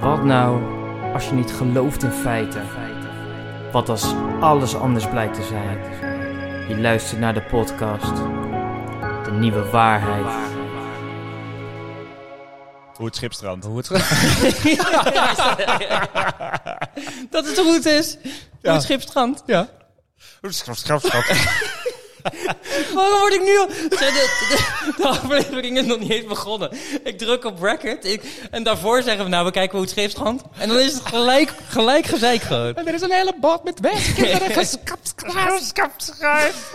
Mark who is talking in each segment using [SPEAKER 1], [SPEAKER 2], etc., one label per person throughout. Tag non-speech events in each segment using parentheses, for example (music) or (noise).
[SPEAKER 1] Wat nou als je niet gelooft in feiten? Wat als alles anders blijkt te zijn? Je luistert naar de podcast. De nieuwe waarheid.
[SPEAKER 2] Hoe het schipstrand.
[SPEAKER 3] Hoe het Dat het goed is. Hoe het schipstrand.
[SPEAKER 2] Ja. Hoe het (laughs) schipstrand. Oh,
[SPEAKER 3] Waarom word ik nu al... Zeg, De, de, de aflevering is nog niet eens begonnen. Ik druk op record. Ik, en daarvoor zeggen we, nou, we kijken hoe het schipstrand. En dan is het gelijk, gelijk gezeik gewoon.
[SPEAKER 2] Er is een hele bad met weg.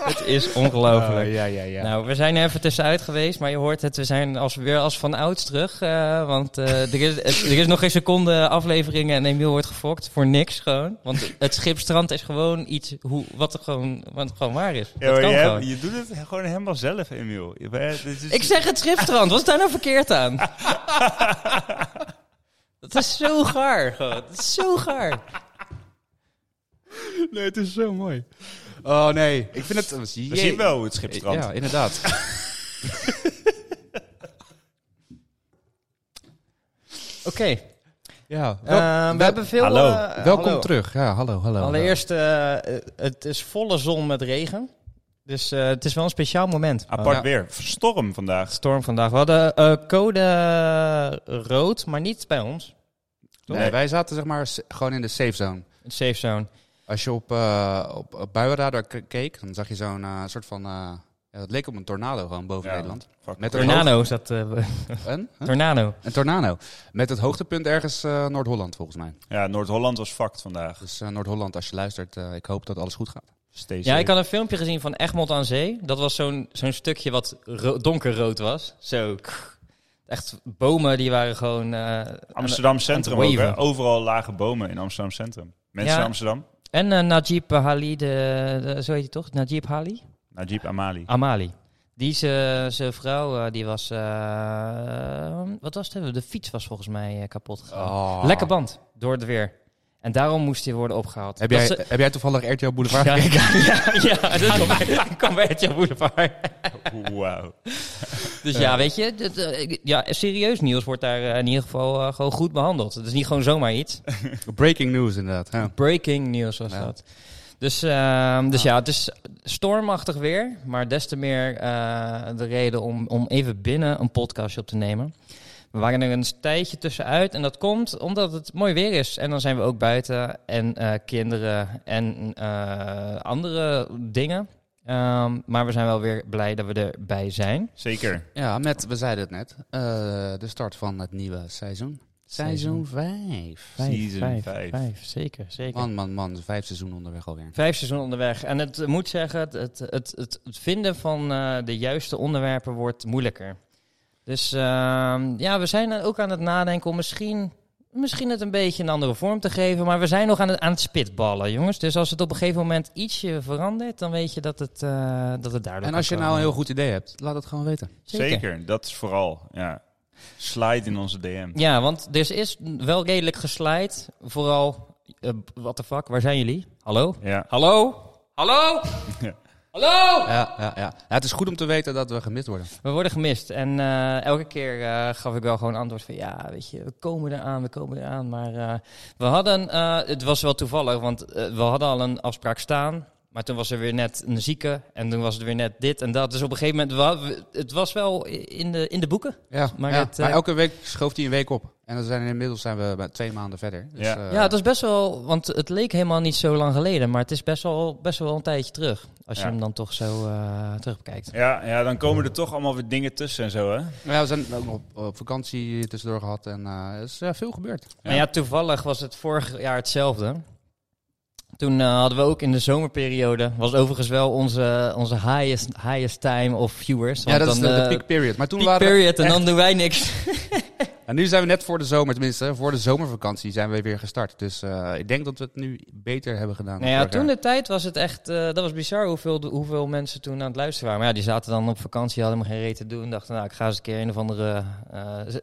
[SPEAKER 3] Het is ongelooflijk.
[SPEAKER 2] Oh, ja, ja, ja.
[SPEAKER 3] Nou, we zijn er even tussenuit geweest, maar je hoort het, we zijn als, weer als van ouds terug. eh, want eh, er, is, het- er is nog geen seconde aflevering en Emiel wordt gefokt voor niks gewoon. Want het schipstrand is gewoon iets hoe, wat, er gewoon, wat gewoon waar is.
[SPEAKER 2] Ja,
[SPEAKER 3] Dat
[SPEAKER 2] maar
[SPEAKER 3] kan
[SPEAKER 2] je,
[SPEAKER 3] gewoon.
[SPEAKER 2] hebt- je doet het gewoon helemaal zelf, Emiel. Je bent- dit is-
[SPEAKER 3] Ik zeg het schipstrand, wat is daar nou verkeerd aan? (laughs) Dat is zo gaar, gewoon. Dat is zo gaar.
[SPEAKER 4] Nee, het is zo mooi. Oh nee, ik vind het...
[SPEAKER 2] We zien wel hoe het schipstrand.
[SPEAKER 4] Ja, inderdaad. (laughs)
[SPEAKER 3] Oké,
[SPEAKER 4] ja, wel-
[SPEAKER 3] eh, we
[SPEAKER 4] wel-
[SPEAKER 3] hebben veel...
[SPEAKER 2] Hallo.
[SPEAKER 3] eh,
[SPEAKER 4] welkom
[SPEAKER 3] hallo.
[SPEAKER 4] terug. Ja, hallo, hallo. hallo.
[SPEAKER 3] Allereerst, eh, eh, het is volle zon met regen. Dus eh, het is wel een speciaal moment.
[SPEAKER 2] Apart
[SPEAKER 4] Ja.
[SPEAKER 2] weer. Storm vandaag.
[SPEAKER 3] Storm vandaag. We hadden eh, code eh, rood, maar niet bij ons.
[SPEAKER 4] Nee,
[SPEAKER 2] Nee.
[SPEAKER 4] wij zaten zeg maar s- gewoon in de safe zone.
[SPEAKER 3] Een safe zone.
[SPEAKER 4] Als je op, eh op, op buienradar k- keek, dan zag je zo'n eh, soort van... eh, ja, het leek op een tornado gewoon boven
[SPEAKER 2] Ja.
[SPEAKER 4] Nederland.
[SPEAKER 2] Fuck.
[SPEAKER 4] Met een
[SPEAKER 3] Tornado is dat. eh,
[SPEAKER 4] hoog- Een? Huh?
[SPEAKER 3] tornado.
[SPEAKER 4] Een tornado. Met het hoogtepunt ergens eh, Noord-Holland volgens mij.
[SPEAKER 2] Ja, Noord-Holland was fucked vandaag.
[SPEAKER 4] Dus eh, Noord-Holland, als je luistert, eh, ik hoop dat alles goed gaat.
[SPEAKER 2] Stay
[SPEAKER 3] Ja,
[SPEAKER 2] safe.
[SPEAKER 3] ik had een filmpje gezien van Egmond aan Zee. Dat was zo'n zo'n stukje wat ro- donkerrood was. Zo. kr- Echt bomen die waren gewoon. eh,
[SPEAKER 2] Amsterdam Centrum
[SPEAKER 3] aan
[SPEAKER 2] ook,
[SPEAKER 3] het
[SPEAKER 2] hè?
[SPEAKER 3] waven.
[SPEAKER 2] Overal lage bomen in Amsterdam Centrum. Mensen
[SPEAKER 3] Ja.
[SPEAKER 2] in Amsterdam?
[SPEAKER 3] En eh, Najib Hali, de, de- zo heet hij toch? Najib Hali?
[SPEAKER 2] Najib Amali.
[SPEAKER 3] Amali. Die zijn vrouw, eh, die was. eh, wat was het? De fiets was volgens mij eh, kapot gegaan.
[SPEAKER 4] Oh. Ah.
[SPEAKER 3] Lekker band door het weer. En daarom moest hij worden opgehaald.
[SPEAKER 4] Heb
[SPEAKER 3] Dat
[SPEAKER 4] jij,
[SPEAKER 3] ze-
[SPEAKER 4] heb jij toevallig RTL Boulevard (laughs)
[SPEAKER 3] ja,
[SPEAKER 4] gekeken?
[SPEAKER 3] ja, ja, dat kwam bij- (laughs) kwam bij het jouw boulevard.
[SPEAKER 2] Wauw.
[SPEAKER 3] Dus ja, weet je, dat, eh, ik- ja, serieus nieuws wordt daar eh, in ieder geval eh, gewoon goed behandeld. Het is niet gewoon zomaar (laughs) iets.
[SPEAKER 4] Breaking news inderdaad. Ja.
[SPEAKER 3] Breaking nieuws was
[SPEAKER 4] Ja.
[SPEAKER 3] dat. Dus, ehm, dus ja, het is stormachtig weer, maar des te meer eh, de reden om, om even binnen een podcastje op te nemen. We waren er een tijdje tussenuit en dat komt omdat het mooi weer is. En dan zijn we ook buiten en eh, kinderen en eh, andere dingen. Ehm, maar we zijn wel weer blij dat we erbij zijn.
[SPEAKER 2] Zeker.
[SPEAKER 4] Ja, met, we zeiden het net, eh, de start van het nieuwe seizoen.
[SPEAKER 3] Seizoen.
[SPEAKER 4] Seizoen 5.
[SPEAKER 2] Vijf, Season vijf, vijf. vijf,
[SPEAKER 3] zeker, zeker.
[SPEAKER 4] Man, man, man, vijf seizoenen onderweg alweer.
[SPEAKER 3] Vijf seizoenen onderweg. En het eh, moet zeggen, het, het, het, het, het vinden van eh, de juiste onderwerpen wordt moeilijker. Dus ehm, ja, we zijn ook aan het nadenken om misschien, misschien het een beetje een andere vorm te geven. Maar we zijn nog aan het, aan het spitballen, jongens. Dus als het op een gegeven moment ietsje verandert, dan weet je dat het, eh, dat het daardoor
[SPEAKER 4] En
[SPEAKER 3] kan
[SPEAKER 4] als je nou
[SPEAKER 3] komen.
[SPEAKER 4] een heel goed idee hebt, laat het gewoon weten.
[SPEAKER 2] Zeker. Dat is vooral. Ja. Slide in onze DM.
[SPEAKER 3] Ja, want er is wel redelijk geslijt. Vooral, eh, wat de fuck, waar zijn jullie? Hallo?
[SPEAKER 2] Ja.
[SPEAKER 3] Hallo?
[SPEAKER 2] (laughs)
[SPEAKER 3] Hallo?
[SPEAKER 2] Ja.
[SPEAKER 3] Hallo?
[SPEAKER 4] Ja, ja, ja. Ja, het is goed om te weten dat we gemist worden.
[SPEAKER 3] We worden gemist. En eh, elke keer eh, gaf ik wel gewoon antwoord van ja, weet je, we komen eraan, we komen eraan. Maar eh, we hadden, eh, het was wel toevallig, want eh, we hadden al een afspraak staan. Maar toen was er weer net een zieke en toen was er weer net dit en dat. Dus op een gegeven moment, wa- we- het was wel in de, in de boeken.
[SPEAKER 4] Ja,
[SPEAKER 3] Maar
[SPEAKER 4] maar,
[SPEAKER 3] het, eh,
[SPEAKER 4] maar elke week schoof hij een week op. En dan zijn we inmiddels zijn we bij twee maanden verder. Dus,
[SPEAKER 2] Ja.
[SPEAKER 4] eh,
[SPEAKER 3] ja, het is best wel, want het leek helemaal niet zo lang geleden. Maar het is best wel, best wel een tijdje terug, als je
[SPEAKER 2] Ja.
[SPEAKER 3] hem dan toch zo eh terugbekijkt.
[SPEAKER 2] Ja, ja, dan komen er toch allemaal weer dingen tussen en zo, hè?
[SPEAKER 4] maar ja, we zijn ook nog op, op vakantie tussendoor gehad en eh, er is eh, veel gebeurd.
[SPEAKER 3] Nou ja, toevallig was het vorig jaar hetzelfde. Toen eh, hadden we ook in de zomerperiode, was overigens wel onze, onze highest, highest time of viewers.
[SPEAKER 4] Ja,
[SPEAKER 3] want
[SPEAKER 4] dat is de,
[SPEAKER 3] dan,
[SPEAKER 4] de
[SPEAKER 3] eh,
[SPEAKER 4] peak period. Maar toen
[SPEAKER 3] peak
[SPEAKER 4] waren we-
[SPEAKER 3] period en dan doen wij niks.
[SPEAKER 4] En nu zijn we net voor de zomer, tenminste, voor de zomervakantie zijn we weer gestart. Dus eh, ik denk dat we het nu beter hebben gedaan. dan
[SPEAKER 3] nou ja,
[SPEAKER 4] vorig
[SPEAKER 3] toen
[SPEAKER 4] jaar.
[SPEAKER 3] de tijd was het echt, eh, dat was bizar hoeveel, hoeveel mensen toen aan het luisteren waren. Maar ja, die zaten dan op vakantie, hadden helemaal geen reet te doen. Dachten, nou, ik ga eens een keer een of andere eh, z-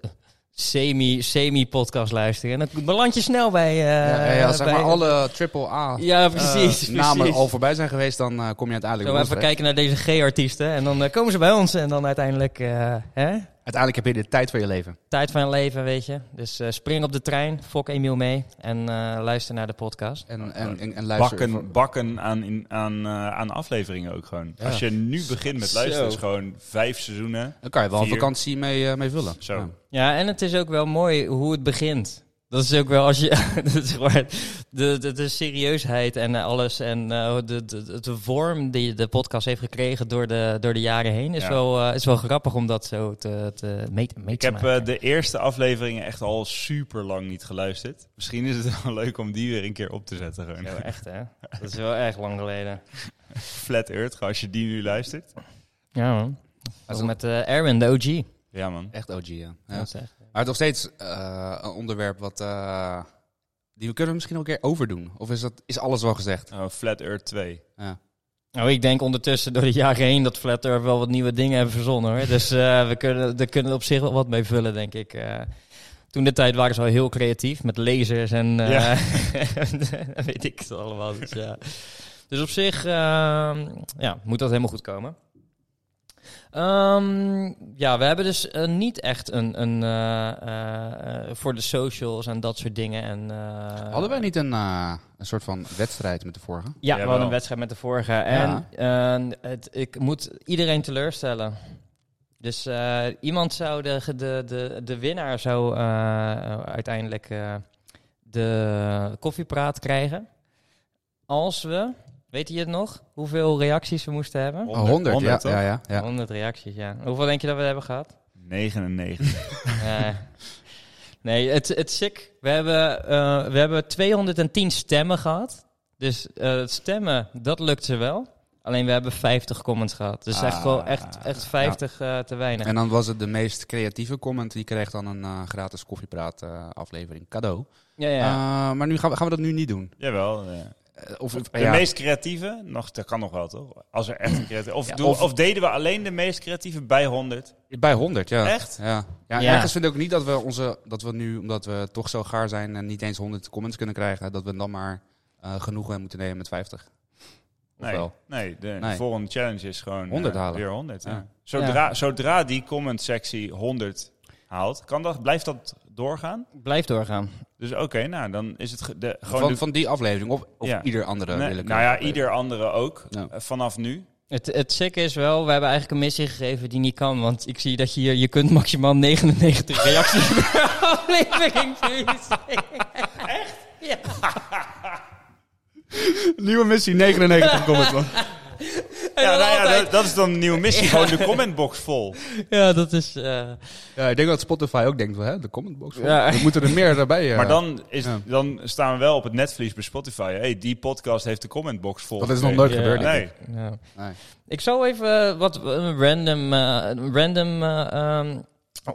[SPEAKER 3] semi, semi-podcast luisteren. En dan beland je snel bij... eh,
[SPEAKER 4] Ja, ja, ja, zeg
[SPEAKER 3] bij-
[SPEAKER 4] maar alle triple A eh,
[SPEAKER 3] Ja, precies.
[SPEAKER 4] namen
[SPEAKER 3] precies.
[SPEAKER 4] al voorbij zijn geweest, dan eh, kom je uiteindelijk
[SPEAKER 3] Zo
[SPEAKER 4] bij
[SPEAKER 3] even
[SPEAKER 4] ons
[SPEAKER 3] kijken naar deze G-artiesten en dan eh, komen ze bij ons en dan uiteindelijk, eh, hè?
[SPEAKER 4] Uiteindelijk heb je de tijd van je leven.
[SPEAKER 3] Tijd van je leven, weet je. Dus eh, spring op de trein, fok Emiel mee en eh, luister naar de podcast.
[SPEAKER 4] En, en, en, en luister.
[SPEAKER 2] Bakken, bakken aan, in, aan, eh, aan afleveringen ook gewoon.
[SPEAKER 4] Ja.
[SPEAKER 2] Als je nu begint met
[SPEAKER 4] Zo.
[SPEAKER 2] luisteren, is gewoon vijf seizoenen.
[SPEAKER 4] Dan kan je wel een
[SPEAKER 2] Vier.
[SPEAKER 4] vakantie mee, eh, mee vullen.
[SPEAKER 2] Zo.
[SPEAKER 4] Ja.
[SPEAKER 3] Ja, en het is ook wel mooi hoe het begint. Dat is ook wel als je. (laughs) dat is gewoon- de, de, de serieusheid en eh, alles. En eh, de, de, de vorm die de podcast heeft gekregen door de, door de jaren heen. Is,
[SPEAKER 2] Ja.
[SPEAKER 3] wel, eh, is wel grappig om dat zo te, te mee, mee
[SPEAKER 2] Ik
[SPEAKER 3] te
[SPEAKER 2] heb
[SPEAKER 3] maken.
[SPEAKER 2] eh, de eerste afleveringen echt al super lang niet geluisterd. Misschien is het wel (laughs) leuk om die weer een keer op te zetten. Gewoon.
[SPEAKER 3] Zo, echt hè? Dat is wel erg lang geleden.
[SPEAKER 2] (laughs) Flat Earth, gewoon als je die nu luistert.
[SPEAKER 3] Ja, man.
[SPEAKER 4] Dat
[SPEAKER 3] Ook
[SPEAKER 4] is
[SPEAKER 3] met eh Erwin, de OG.
[SPEAKER 2] Ja, man.
[SPEAKER 4] echt OG, ja. ja.
[SPEAKER 3] Dat is echt-
[SPEAKER 4] Maar nog steeds eh, een onderwerp wat... eh, die we kunnen misschien ook een keer overdoen. Of is, dat, is alles wel gezegd?
[SPEAKER 2] Oh, Flat Earth 2.
[SPEAKER 4] Ja.
[SPEAKER 3] Nou, ik denk ondertussen door de jaren heen dat Flat Earth wel wat nieuwe dingen hebben verzonnen hoor. Dus eh, we kunnen, daar kunnen we op zich wel wat mee vullen, denk ik. Eh, toen de tijd waren ze wel heel creatief met lasers en eh, (laughs)
[SPEAKER 2] Ja.
[SPEAKER 3] weet ik het allemaal. Dus, ja. dus op zich ehm, ja, moet dat helemaal goed komen. Ehm, ja, we hebben dus eh, niet echt een, een eh, eh, voor de socials en dat soort dingen. En, eh,
[SPEAKER 4] Hadden wij niet een, eh, een soort van wedstrijd met de vorige?
[SPEAKER 3] ja, we
[SPEAKER 2] Jawel.
[SPEAKER 3] hadden een wedstrijd met de vorige. En eh, het, ik moet iedereen teleurstellen. Dus eh, iemand zou de, ge- de, de, de winnaar zou eh, uiteindelijk eh, de koffiepraat krijgen. Als we, weet je het nog, hoeveel reacties we moesten hebben?
[SPEAKER 4] 100, 100, Oh, ja,
[SPEAKER 2] toch?
[SPEAKER 4] ja, ja, ja.
[SPEAKER 3] 100 reacties, ja. Hoeveel denk je dat we hebben gehad?
[SPEAKER 4] (laughs)
[SPEAKER 2] 99.
[SPEAKER 3] Nee. Eh, nee, het, het sick. We hebben, eh, we hebben 210 stemmen gehad. Dus eh, het stemmen, dat lukt ze wel. Alleen we hebben 50 comments gehad. Dus echt
[SPEAKER 4] Ah,
[SPEAKER 3] wel echt, echt 50 eh, te weinig.
[SPEAKER 4] En dan was het de meest creatieve comment. Die kreeg dan een eh, gratis koffiepraat eh, aflevering cadeau.
[SPEAKER 3] ja, ja.
[SPEAKER 4] Eh, maar nu gaan we, gaan we dat nu niet doen.
[SPEAKER 2] Jawel. ja.
[SPEAKER 4] Eh, of,
[SPEAKER 2] De
[SPEAKER 4] ja.
[SPEAKER 2] meest creatieve, nog, dat kan nog wel toch? Als er echt een creatieve. Of,
[SPEAKER 4] Ja,
[SPEAKER 2] doen-
[SPEAKER 4] of-
[SPEAKER 2] of deden we alleen de meest creatieve bij 100?
[SPEAKER 4] Bij 100, ja.
[SPEAKER 2] Echt?
[SPEAKER 4] Ja. Ja, en
[SPEAKER 3] Ja.
[SPEAKER 4] Ergens vind ik ook niet dat we onze dat we nu, omdat we toch zo gaar zijn en niet eens 100 comments kunnen krijgen, dat we dan maar eh genoegen moeten nemen met 50. Of
[SPEAKER 2] Nee,
[SPEAKER 4] wel?
[SPEAKER 2] nee, de
[SPEAKER 4] Nee.
[SPEAKER 2] volgende challenge is gewoon eh,
[SPEAKER 4] 100 halen.
[SPEAKER 2] weer 100. ja.
[SPEAKER 4] Ja.
[SPEAKER 2] Zodra, zodra die comment sectie 100 haalt, kan dat, blijft dat doorgaan?
[SPEAKER 3] Blijf doorgaan.
[SPEAKER 2] Dus oké, nou dan is het ge- de, gewoon
[SPEAKER 4] Van,
[SPEAKER 2] de-
[SPEAKER 4] van die aflevering of, of
[SPEAKER 2] Ja.
[SPEAKER 4] ieder andere.
[SPEAKER 2] nee,
[SPEAKER 4] willekeurig
[SPEAKER 2] nou ja,
[SPEAKER 4] aflevering.
[SPEAKER 2] ieder andere ook
[SPEAKER 4] Ja.
[SPEAKER 2] eh, vanaf nu.
[SPEAKER 3] Het, het sick is wel, we hebben eigenlijk een missie gegeven die niet kan. Want ik zie dat je hier, je kunt maximaal 99 reacties (laughs) per aflevering Echt? Ja.
[SPEAKER 4] (laughs) Nieuwe
[SPEAKER 2] (laughs)
[SPEAKER 4] missie 99 comments. man.
[SPEAKER 3] En
[SPEAKER 2] Ja,
[SPEAKER 3] dan
[SPEAKER 2] nou ja,
[SPEAKER 3] altijd-
[SPEAKER 2] dat, dat is dan een nieuwe
[SPEAKER 4] (laughs)
[SPEAKER 2] missie. Gewoon de commentbox vol.
[SPEAKER 3] ja, dat is... eh,
[SPEAKER 4] Ja, ik denk dat Spotify ook denkt wel, hè, de commentbox.
[SPEAKER 3] Ja.
[SPEAKER 4] We moeten er meer daarbij. eh,
[SPEAKER 2] Maar dan, is,
[SPEAKER 4] Ja.
[SPEAKER 2] dan staan we wel op het netvlies bij Spotify. hey, die podcast heeft de commentbox vol.
[SPEAKER 4] dat is nog
[SPEAKER 2] gekregen.
[SPEAKER 4] nooit
[SPEAKER 3] Ja.
[SPEAKER 4] gebeurd. denk ik.
[SPEAKER 2] Nee.
[SPEAKER 3] ja.
[SPEAKER 4] Nee.
[SPEAKER 3] Ik zou even eh, wat een random, eh, een random eh, ehm,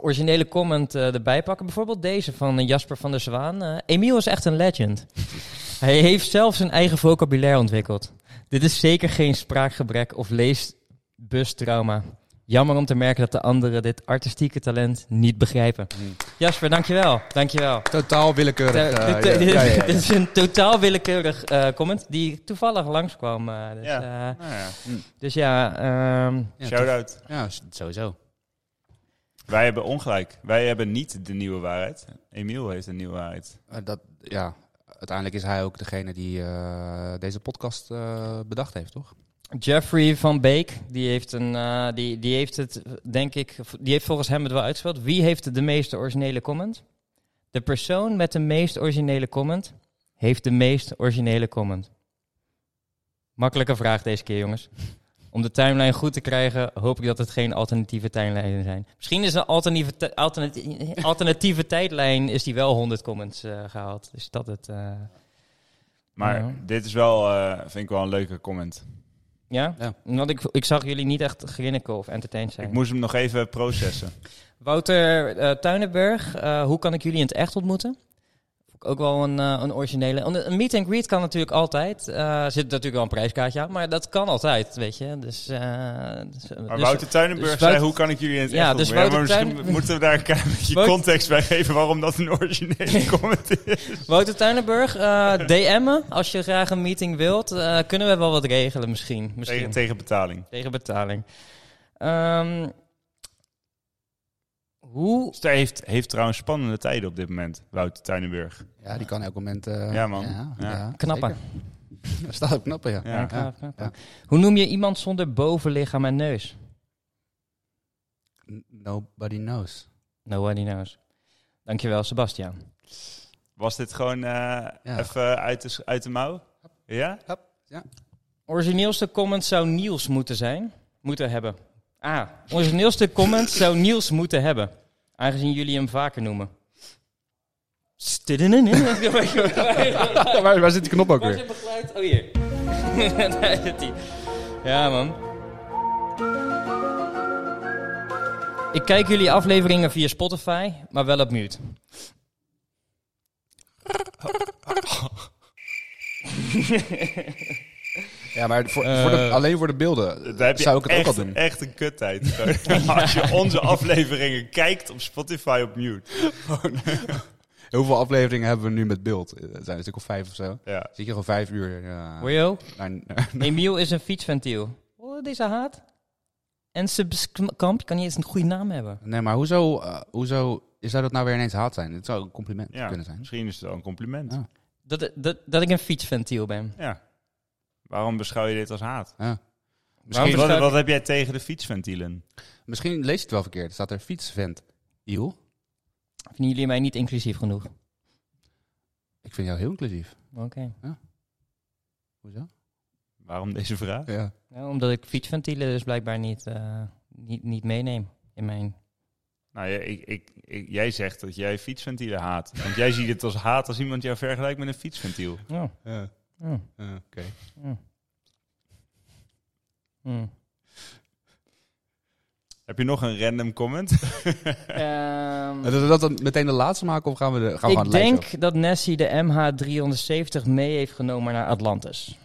[SPEAKER 3] originele comment eh, erbij pakken. Bijvoorbeeld deze van eh, Jasper van der Zwaan. Eh, Emiel is echt een legend.
[SPEAKER 4] (laughs)
[SPEAKER 3] Hij heeft zelf zijn eigen vocabulaire ontwikkeld. Dit is zeker geen spraakgebrek of leesbustrauma. Jammer om te merken dat de anderen dit artistieke talent niet begrijpen.
[SPEAKER 4] Hmm.
[SPEAKER 3] Jasper, dankjewel. Dankjewel.
[SPEAKER 4] Totaal willekeurig. eh,
[SPEAKER 3] Dit- dit-
[SPEAKER 4] (laughs) ja, ja, ja, ja.
[SPEAKER 3] Dit is een totaal willekeurig eh, comment die toevallig langskwam. eh, dus,
[SPEAKER 2] Ja.
[SPEAKER 3] eh,
[SPEAKER 2] Nou ja,
[SPEAKER 3] dus ja, ehm,
[SPEAKER 4] Ja,
[SPEAKER 2] shout-out.
[SPEAKER 4] toch? Ja, s- sowieso.
[SPEAKER 2] Wij hebben ongelijk. Wij hebben niet de nieuwe waarheid. Emiel heeft een nieuwe waarheid.
[SPEAKER 4] Eh, Dat, ja, uiteindelijk is hij ook degene die eh, deze podcast eh, bedacht heeft, toch?
[SPEAKER 3] Jeffrey van Beek, die heeft, een, eh, die, die heeft het, denk ik, die heeft volgens hem het wel uitgespeeld. Wie heeft de meeste originele comment? De persoon met de meest originele comment heeft de meest originele comment. Makkelijke vraag deze keer, jongens. (laughs) Om de timeline goed te krijgen, hoop ik dat het geen alternatieve tijdlijnen zijn. Misschien is een alternatieve, ti- alternati- (laughs) alternatieve tijdlijn is die wel 100 comments eh, gehaald. Is dat het? eh,
[SPEAKER 2] Maar
[SPEAKER 3] Ja.
[SPEAKER 2] dit is wel, eh, vind ik wel een leuke comment.
[SPEAKER 3] ja?
[SPEAKER 4] Ja.
[SPEAKER 3] Want ik, ik zag jullie niet echt grinniken of entertained zijn.
[SPEAKER 2] Ik moest hem nog even
[SPEAKER 3] (laughs)
[SPEAKER 2] processen.
[SPEAKER 3] Wouter eh, Tuinenberg, eh, hoe kan ik jullie in het echt ontmoeten? Vond ik Ook wel een, eh, een originele. Een, een meet and greet kan natuurlijk altijd. Eh, Er zit natuurlijk wel een prijskaartje aan, maar dat kan altijd, weet je. Dus, eh, dus, eh,
[SPEAKER 2] Maar
[SPEAKER 3] dus-
[SPEAKER 2] Wouter Tuinenburg
[SPEAKER 3] dus
[SPEAKER 2] zei,
[SPEAKER 3] Wouter-
[SPEAKER 2] hoe kan ik jullie in het
[SPEAKER 3] Ja,
[SPEAKER 2] echt
[SPEAKER 3] dus
[SPEAKER 2] ontmoeten? Ja, maar
[SPEAKER 3] Wouter
[SPEAKER 2] misschien
[SPEAKER 3] Tuin-
[SPEAKER 2] moeten we daar een klein beetje
[SPEAKER 3] (laughs) Wouter-
[SPEAKER 2] context bij geven waarom dat een originele comment is.
[SPEAKER 3] Wouter Tuinenburg, eh (laughs) DM'en als je graag een meeting wilt. eh, kunnen we wel wat regelen misschien. misschien.
[SPEAKER 2] Tegen, tegen betaling.
[SPEAKER 3] Tegen betaling. Ehm, Hoe?
[SPEAKER 2] Dus hij heeft, heeft trouwens spannende tijden op dit moment, Wouter Tuinenburg.
[SPEAKER 4] Ja, die kan elk moment... eh,
[SPEAKER 2] Ja, man.
[SPEAKER 4] Ja,
[SPEAKER 2] Ja.
[SPEAKER 4] ja,
[SPEAKER 3] Knappen.
[SPEAKER 4] zeker. (laughs) Daar staat ook knappen, ja.
[SPEAKER 2] Ja.
[SPEAKER 4] Ja.
[SPEAKER 3] Ja. Hoe noem je iemand zonder bovenlichaam en neus?
[SPEAKER 4] N- Nobody
[SPEAKER 2] (laughs)
[SPEAKER 4] knows.
[SPEAKER 3] Nobody knows. Dankjewel, Sebastian.
[SPEAKER 2] Was dit gewoon eh, even uit de, s- uit de mouw? Ja?
[SPEAKER 3] Origineelste comment zou Niels moeten zijn. Moeten hebben. Ah, origineelste comment zou Niels moeten hebben. Aangezien jullie hem vaker noemen. Stiddenin.
[SPEAKER 4] Ja, waar, waar zit die knop ook
[SPEAKER 3] Waar zit mijn geluid? Oh, hier. Daar zit hij. Ja, man. Ik kijk jullie afleveringen via Spotify, maar wel op mute.
[SPEAKER 4] Ja, maar voor,
[SPEAKER 3] Eh,
[SPEAKER 4] voor de, alleen voor de beelden
[SPEAKER 2] Daar heb je
[SPEAKER 4] zou ik het
[SPEAKER 2] echt,
[SPEAKER 4] ook al doen.
[SPEAKER 2] echt een kuttijd. (laughs) Gewoon, Als je onze afleveringen kijkt op Spotify op mute.
[SPEAKER 4] Hoeveel afleveringen hebben we nu met beeld? Eh, Er zijn er een stuk of vijf of zo.
[SPEAKER 2] Ja.
[SPEAKER 4] Zit je gewoon vijf uur eh,
[SPEAKER 3] Hoor je ook?
[SPEAKER 4] naar, naar- (laughs)
[SPEAKER 3] Emiel is een fietsventiel. Oh, deze haat. En Subskamp kan niet eens een goede naam hebben.
[SPEAKER 4] Nee, maar hoezo, eh, hoezo zou dat nou weer ineens haat zijn? Het zou een compliment
[SPEAKER 2] Ja,
[SPEAKER 4] kunnen zijn.
[SPEAKER 2] Misschien is het wel een compliment.
[SPEAKER 4] Ja.
[SPEAKER 3] Dat, dat, dat ik een fietsventiel ben.
[SPEAKER 2] Ja. Waarom beschouw je dit als haat?
[SPEAKER 3] Waarom
[SPEAKER 4] Misschien,
[SPEAKER 3] beschouw
[SPEAKER 2] Wat,
[SPEAKER 3] ik-
[SPEAKER 2] wat heb jij tegen de fietsventielen?
[SPEAKER 4] misschien lees je het wel verkeerd. Er staat er fietsvent. Iel?
[SPEAKER 3] Vinden jullie mij niet inclusief genoeg? Oké.
[SPEAKER 4] Ik vind jou heel inclusief. Hoezo?
[SPEAKER 2] Waarom deze vraag?
[SPEAKER 4] Ja.
[SPEAKER 3] Nou, omdat ik fietsventielen dus blijkbaar niet, eh, niet, niet meeneem in mijn...
[SPEAKER 2] Nou, ja, ik, ik, ik- jij zegt dat jij fietsventielen haat. Want jij ziet het als haat als iemand jou vergelijkt met een fietsventiel.
[SPEAKER 3] Oh,
[SPEAKER 4] ja.
[SPEAKER 3] oh,
[SPEAKER 4] ja, Oké.
[SPEAKER 3] oh. Hmm.
[SPEAKER 2] Heb je nog een random
[SPEAKER 4] (laughs)
[SPEAKER 2] comment?
[SPEAKER 3] Ehm,
[SPEAKER 4] En Zullen we dat dan meteen de laatste maken of gaan we, de, gaan we
[SPEAKER 3] ik denk dat Nessie de MH370 mee heeft genomen naar Atlantis.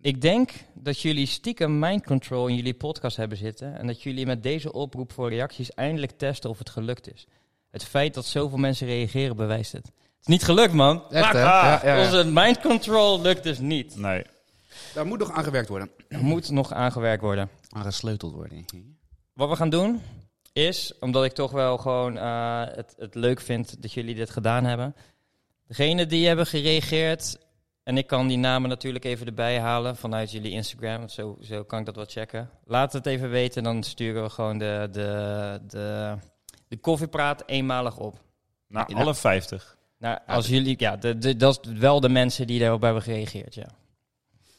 [SPEAKER 3] Ik denk dat jullie stiekem mind control in jullie podcast hebben zitten. En dat jullie met deze oproep voor reacties eindelijk testen of het gelukt is. Het feit dat zoveel mensen reageren bewijst het. Het is niet gelukt, man.
[SPEAKER 4] Echt, hè?
[SPEAKER 2] Ah,
[SPEAKER 4] Ja, ja, ja.
[SPEAKER 3] Onze mind control lukt dus niet.
[SPEAKER 2] Nee.
[SPEAKER 4] Daar moet nog aan gewerkt worden.
[SPEAKER 3] Er moet nog aangewerkt worden.
[SPEAKER 4] Aan gesleuteld worden.
[SPEAKER 3] Wat we gaan doen is, omdat ik toch wel gewoon eh, het, het leuk vind dat jullie dit gedaan hebben. Degene die hebben gereageerd, en ik kan die namen natuurlijk even erbij halen vanuit jullie Instagram, want zo, zo kan ik dat wel checken. Laat het even weten, dan sturen we gewoon de, de, de, de koffiepraat eenmalig op.
[SPEAKER 2] Nou,
[SPEAKER 4] Ja.
[SPEAKER 2] alle 50.
[SPEAKER 3] Nou, als jullie, ja, de, de- dat is wel de mensen die daarop hebben gereageerd, ja.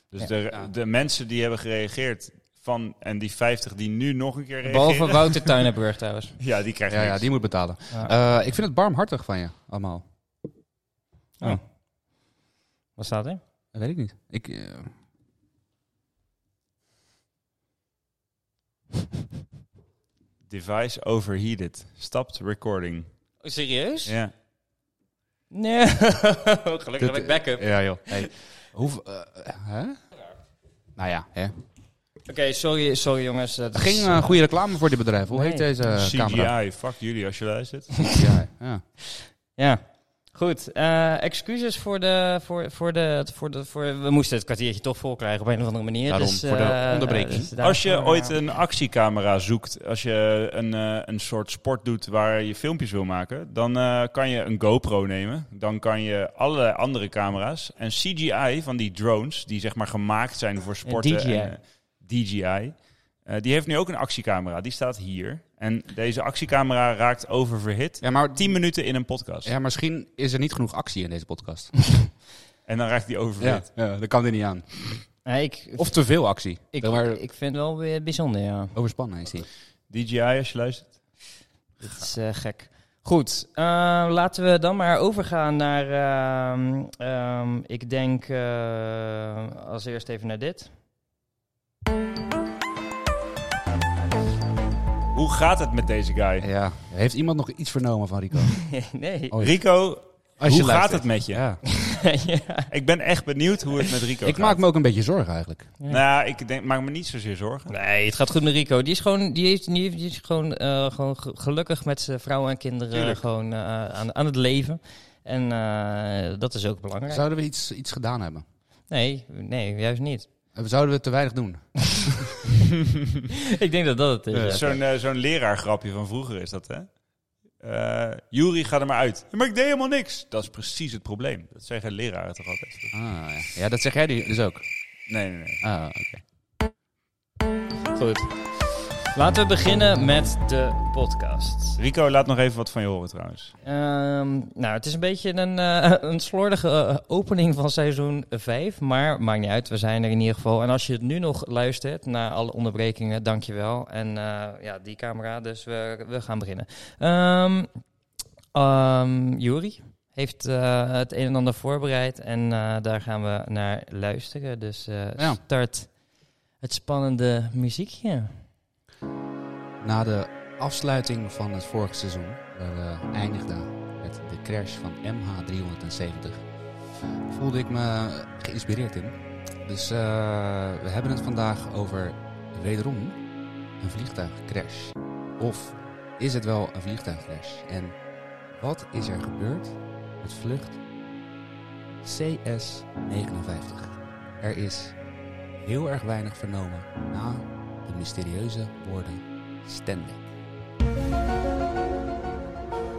[SPEAKER 2] Dus
[SPEAKER 3] Ja.
[SPEAKER 2] de, de mensen die hebben gereageerd van... en die 50 die nu nog een keer reageren...
[SPEAKER 3] (laughs) Behalve Wouter Tuinenburg trouwens.
[SPEAKER 2] Ja, die krijgen
[SPEAKER 4] Ja, ja, die moet betalen.
[SPEAKER 3] Ja.
[SPEAKER 4] Eh, ik vind het barmhartig van je, allemaal.
[SPEAKER 3] Wat staat er?
[SPEAKER 4] Dat weet ik niet. Ik, eh,
[SPEAKER 2] Device overheated. Stopped recording.
[SPEAKER 3] Oh, Serieus?
[SPEAKER 2] Ja.
[SPEAKER 3] Nee. (laughs) Gelukkig heb
[SPEAKER 4] Dit-
[SPEAKER 3] ik backup.
[SPEAKER 4] Ja, joh. Hey. Hoeveel... eh, hè? Nou ja, hè.
[SPEAKER 3] Oké, sorry, sorry jongens. Dat is-
[SPEAKER 4] Geen eh, goede reclame voor dit bedrijf. Hoe
[SPEAKER 3] Nee.
[SPEAKER 4] heet deze
[SPEAKER 2] CGI,
[SPEAKER 4] Eh, camera? (laughs)
[SPEAKER 2] fuck jullie als je luistert.
[SPEAKER 4] CGI. Ja.
[SPEAKER 3] Ja. Goed, eh, excuses voor de, voor, voor, de, voor de... voor We moesten het kwartiertje toch vol krijgen op een of andere manier.
[SPEAKER 4] Daarom,
[SPEAKER 3] dus,
[SPEAKER 4] voor de
[SPEAKER 3] eh,
[SPEAKER 4] onderbreking.
[SPEAKER 3] dus daarvoor,
[SPEAKER 2] Als je
[SPEAKER 3] eh,
[SPEAKER 2] ooit een actiecamera zoekt, als je een, eh, een soort sport doet waar je filmpjes wil maken, dan eh, kan je een GoPro nemen. Dan kan je allerlei andere camera's en CGI van die drones, die zeg maar gemaakt zijn voor sporten.
[SPEAKER 3] DJI.
[SPEAKER 2] en, eh, DJI. eh, die heeft nu ook een actiecamera. Die staat hier. En deze actiecamera raakt oververhit.
[SPEAKER 4] Ja, maar
[SPEAKER 2] 10 minuten in een podcast.
[SPEAKER 4] ja, misschien is er niet genoeg actie in deze podcast.
[SPEAKER 2] En dan raakt die oververhit.
[SPEAKER 4] ja, dat kan dit niet aan.
[SPEAKER 3] Nee, ik,
[SPEAKER 4] Of te veel actie.
[SPEAKER 3] ik,
[SPEAKER 4] Dan maar
[SPEAKER 3] ik, ik vind het wel weer bijzonder, ja.
[SPEAKER 4] overspannen is die.
[SPEAKER 2] DJI als je luistert.
[SPEAKER 3] Dit is eh, gek. Goed, eh, laten we dan maar overgaan naar... ehm, ehm, ik denk eh, als eerst even naar dit. (laughs)
[SPEAKER 2] Hoe gaat het met deze guy?
[SPEAKER 4] Ja. Heeft iemand nog iets vernomen van Rico?
[SPEAKER 3] nee.
[SPEAKER 4] Oh,
[SPEAKER 2] Rico, hoe
[SPEAKER 4] Als je
[SPEAKER 2] gaat
[SPEAKER 4] luistert.
[SPEAKER 2] het met je?
[SPEAKER 4] Ja. Oh.
[SPEAKER 3] ja.
[SPEAKER 2] Ik ben echt benieuwd hoe het met Rico
[SPEAKER 4] Ik
[SPEAKER 2] gaat.
[SPEAKER 4] maak me ook een beetje zorgen eigenlijk.
[SPEAKER 3] Ja.
[SPEAKER 2] Nou, ja, ik denk, maak me niet zozeer zorgen.
[SPEAKER 3] Nee, het gaat goed met Rico. Die is gewoon, die heeft, die heeft- die is gewoon, eh, gewoon ge- gelukkig met zijn vrouw en kinderen
[SPEAKER 2] Tuurlijk.
[SPEAKER 3] gewoon, eh, aan, aan het leven. En eh, dat is ook belangrijk.
[SPEAKER 4] Zouden we iets, iets gedaan hebben?
[SPEAKER 3] Nee, nee, juist niet. (laughs)
[SPEAKER 4] Oké. Eh, Zouden we te weinig doen?
[SPEAKER 3] ik denk dat dat het is.
[SPEAKER 4] Ja.
[SPEAKER 3] ja.
[SPEAKER 2] Zo'n eh, zo'n leraargrapje van vroeger is dat, hè? Eh Juri, ga er maar uit. Maar ik deed helemaal niks. Dat is precies het probleem. Dat zeggen leraren toch altijd.
[SPEAKER 4] Ah, ja. ja, dat zeg jij nu dus ook.
[SPEAKER 2] Nee, nee, nee.
[SPEAKER 4] Ah, oké.
[SPEAKER 3] Goed. Laten we beginnen met de podcast.
[SPEAKER 2] Rico, laat nog even wat van je horen trouwens.
[SPEAKER 3] Ehm, nou, het is een beetje een, eh, (laughs) een slordige eh, opening van seizoen 5. Maar maakt niet uit, we zijn er in ieder geval. En als je het nu nog luistert, na alle onderbrekingen, dankjewel. En eh, ja, die camera, dus we, we gaan beginnen. Ehm ehm, Juri heeft eh, het een en ander voorbereid. En eh, daar gaan we naar luisteren. Dus eh,
[SPEAKER 4] Ja.
[SPEAKER 3] start het spannende muziekje.
[SPEAKER 4] Na de afsluiting van het vorige seizoen, waar we eindigden met de crash van MH370, voelde ik me geïnspireerd in. Dus eh, we hebben het vandaag over wederom een vliegtuigcrash. Of is het wel een vliegtuigcrash? En wat is er gebeurd met vlucht CS59? Er is heel erg weinig vernomen na de mysterieuze woorden Standing.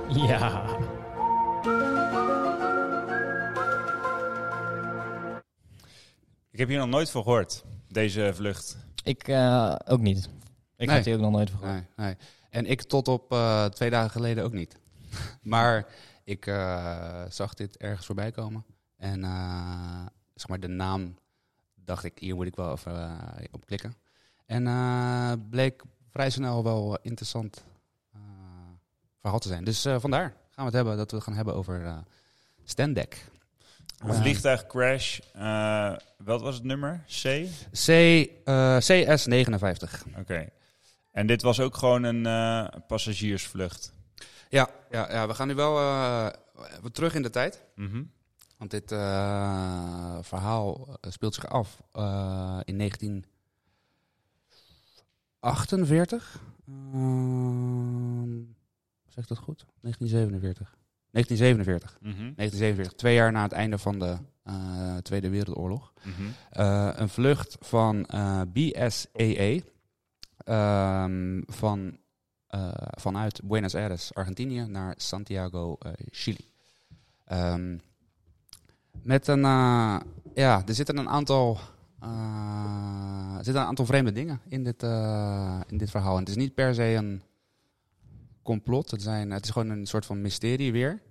[SPEAKER 3] Ja.
[SPEAKER 2] Ik heb hier nog nooit van gehoord, deze vlucht.
[SPEAKER 3] Ik eh, ook niet. Ik
[SPEAKER 4] Nee.
[SPEAKER 3] had hier ook nog nooit van gehoord.
[SPEAKER 4] Nee, nee. En ik tot op eh, twee dagen geleden ook niet. (laughs) maar ik eh, zag dit ergens voorbij komen. En eh, zeg maar de naam dacht ik, hier moet ik wel even eh, op klikken. En eh, bleek vrij snel wel eh, interessant eh, verhaal te zijn. Dus eh, vandaar gaan we het hebben dat we het gaan hebben over eh Stendek.
[SPEAKER 2] Een
[SPEAKER 4] Ja.
[SPEAKER 2] vliegtuigcrash. eh, wat was het nummer? C?
[SPEAKER 4] C, eh, CS59.
[SPEAKER 2] Oké. En dit was ook gewoon een eh, passagiersvlucht.
[SPEAKER 4] Ja, ja, ja, we gaan nu wel eh, even terug in de tijd.
[SPEAKER 2] Mhm.
[SPEAKER 4] Want dit eh, verhaal eh, speelt zich af eh, in 1948. Ehm, Eh, zeg ik dat goed? 1947. 1947.
[SPEAKER 2] Mhm.
[SPEAKER 4] 1947, twee jaar na het einde van de eh, Tweede Wereldoorlog.
[SPEAKER 2] Mhm.
[SPEAKER 4] Eh, een vlucht van eh BSAA ehm, van, eh, vanuit Buenos Aires, Argentinië, naar Santiago, eh, Chili. Ehm, met een, eh, ja, er zitten een aantal, eh, er zitten een aantal vreemde dingen in dit, eh, in dit verhaal. En het is niet per se een complot, het, zijn, het is gewoon een soort van mysterie weer.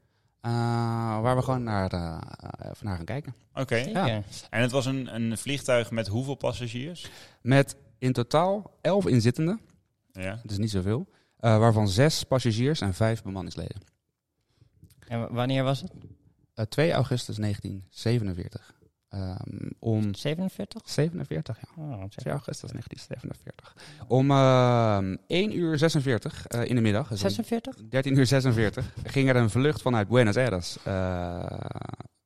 [SPEAKER 4] eh, waar we gewoon naar, eh, even naar gaan kijken.
[SPEAKER 2] Oké.
[SPEAKER 3] Zeker.
[SPEAKER 4] Ja.
[SPEAKER 2] En het was een, een vliegtuig met hoeveel passagiers?
[SPEAKER 4] Met in totaal elf inzittenden.
[SPEAKER 2] Ja.
[SPEAKER 4] Dus niet zoveel. Eh, waarvan zes passagiers en vijf bemanningsleden.
[SPEAKER 3] En w- wanneer was het?
[SPEAKER 4] Eh, 2 augustus 1947. Ehm, om
[SPEAKER 3] 47?
[SPEAKER 4] 47, ja.
[SPEAKER 3] Oh,
[SPEAKER 4] 2 augustus 1947. Om ehm 1 uur 46 eh, in de middag. Dus om
[SPEAKER 3] 46?
[SPEAKER 4] 13 uur 46 ging er een vlucht vanuit Buenos Aires, eh,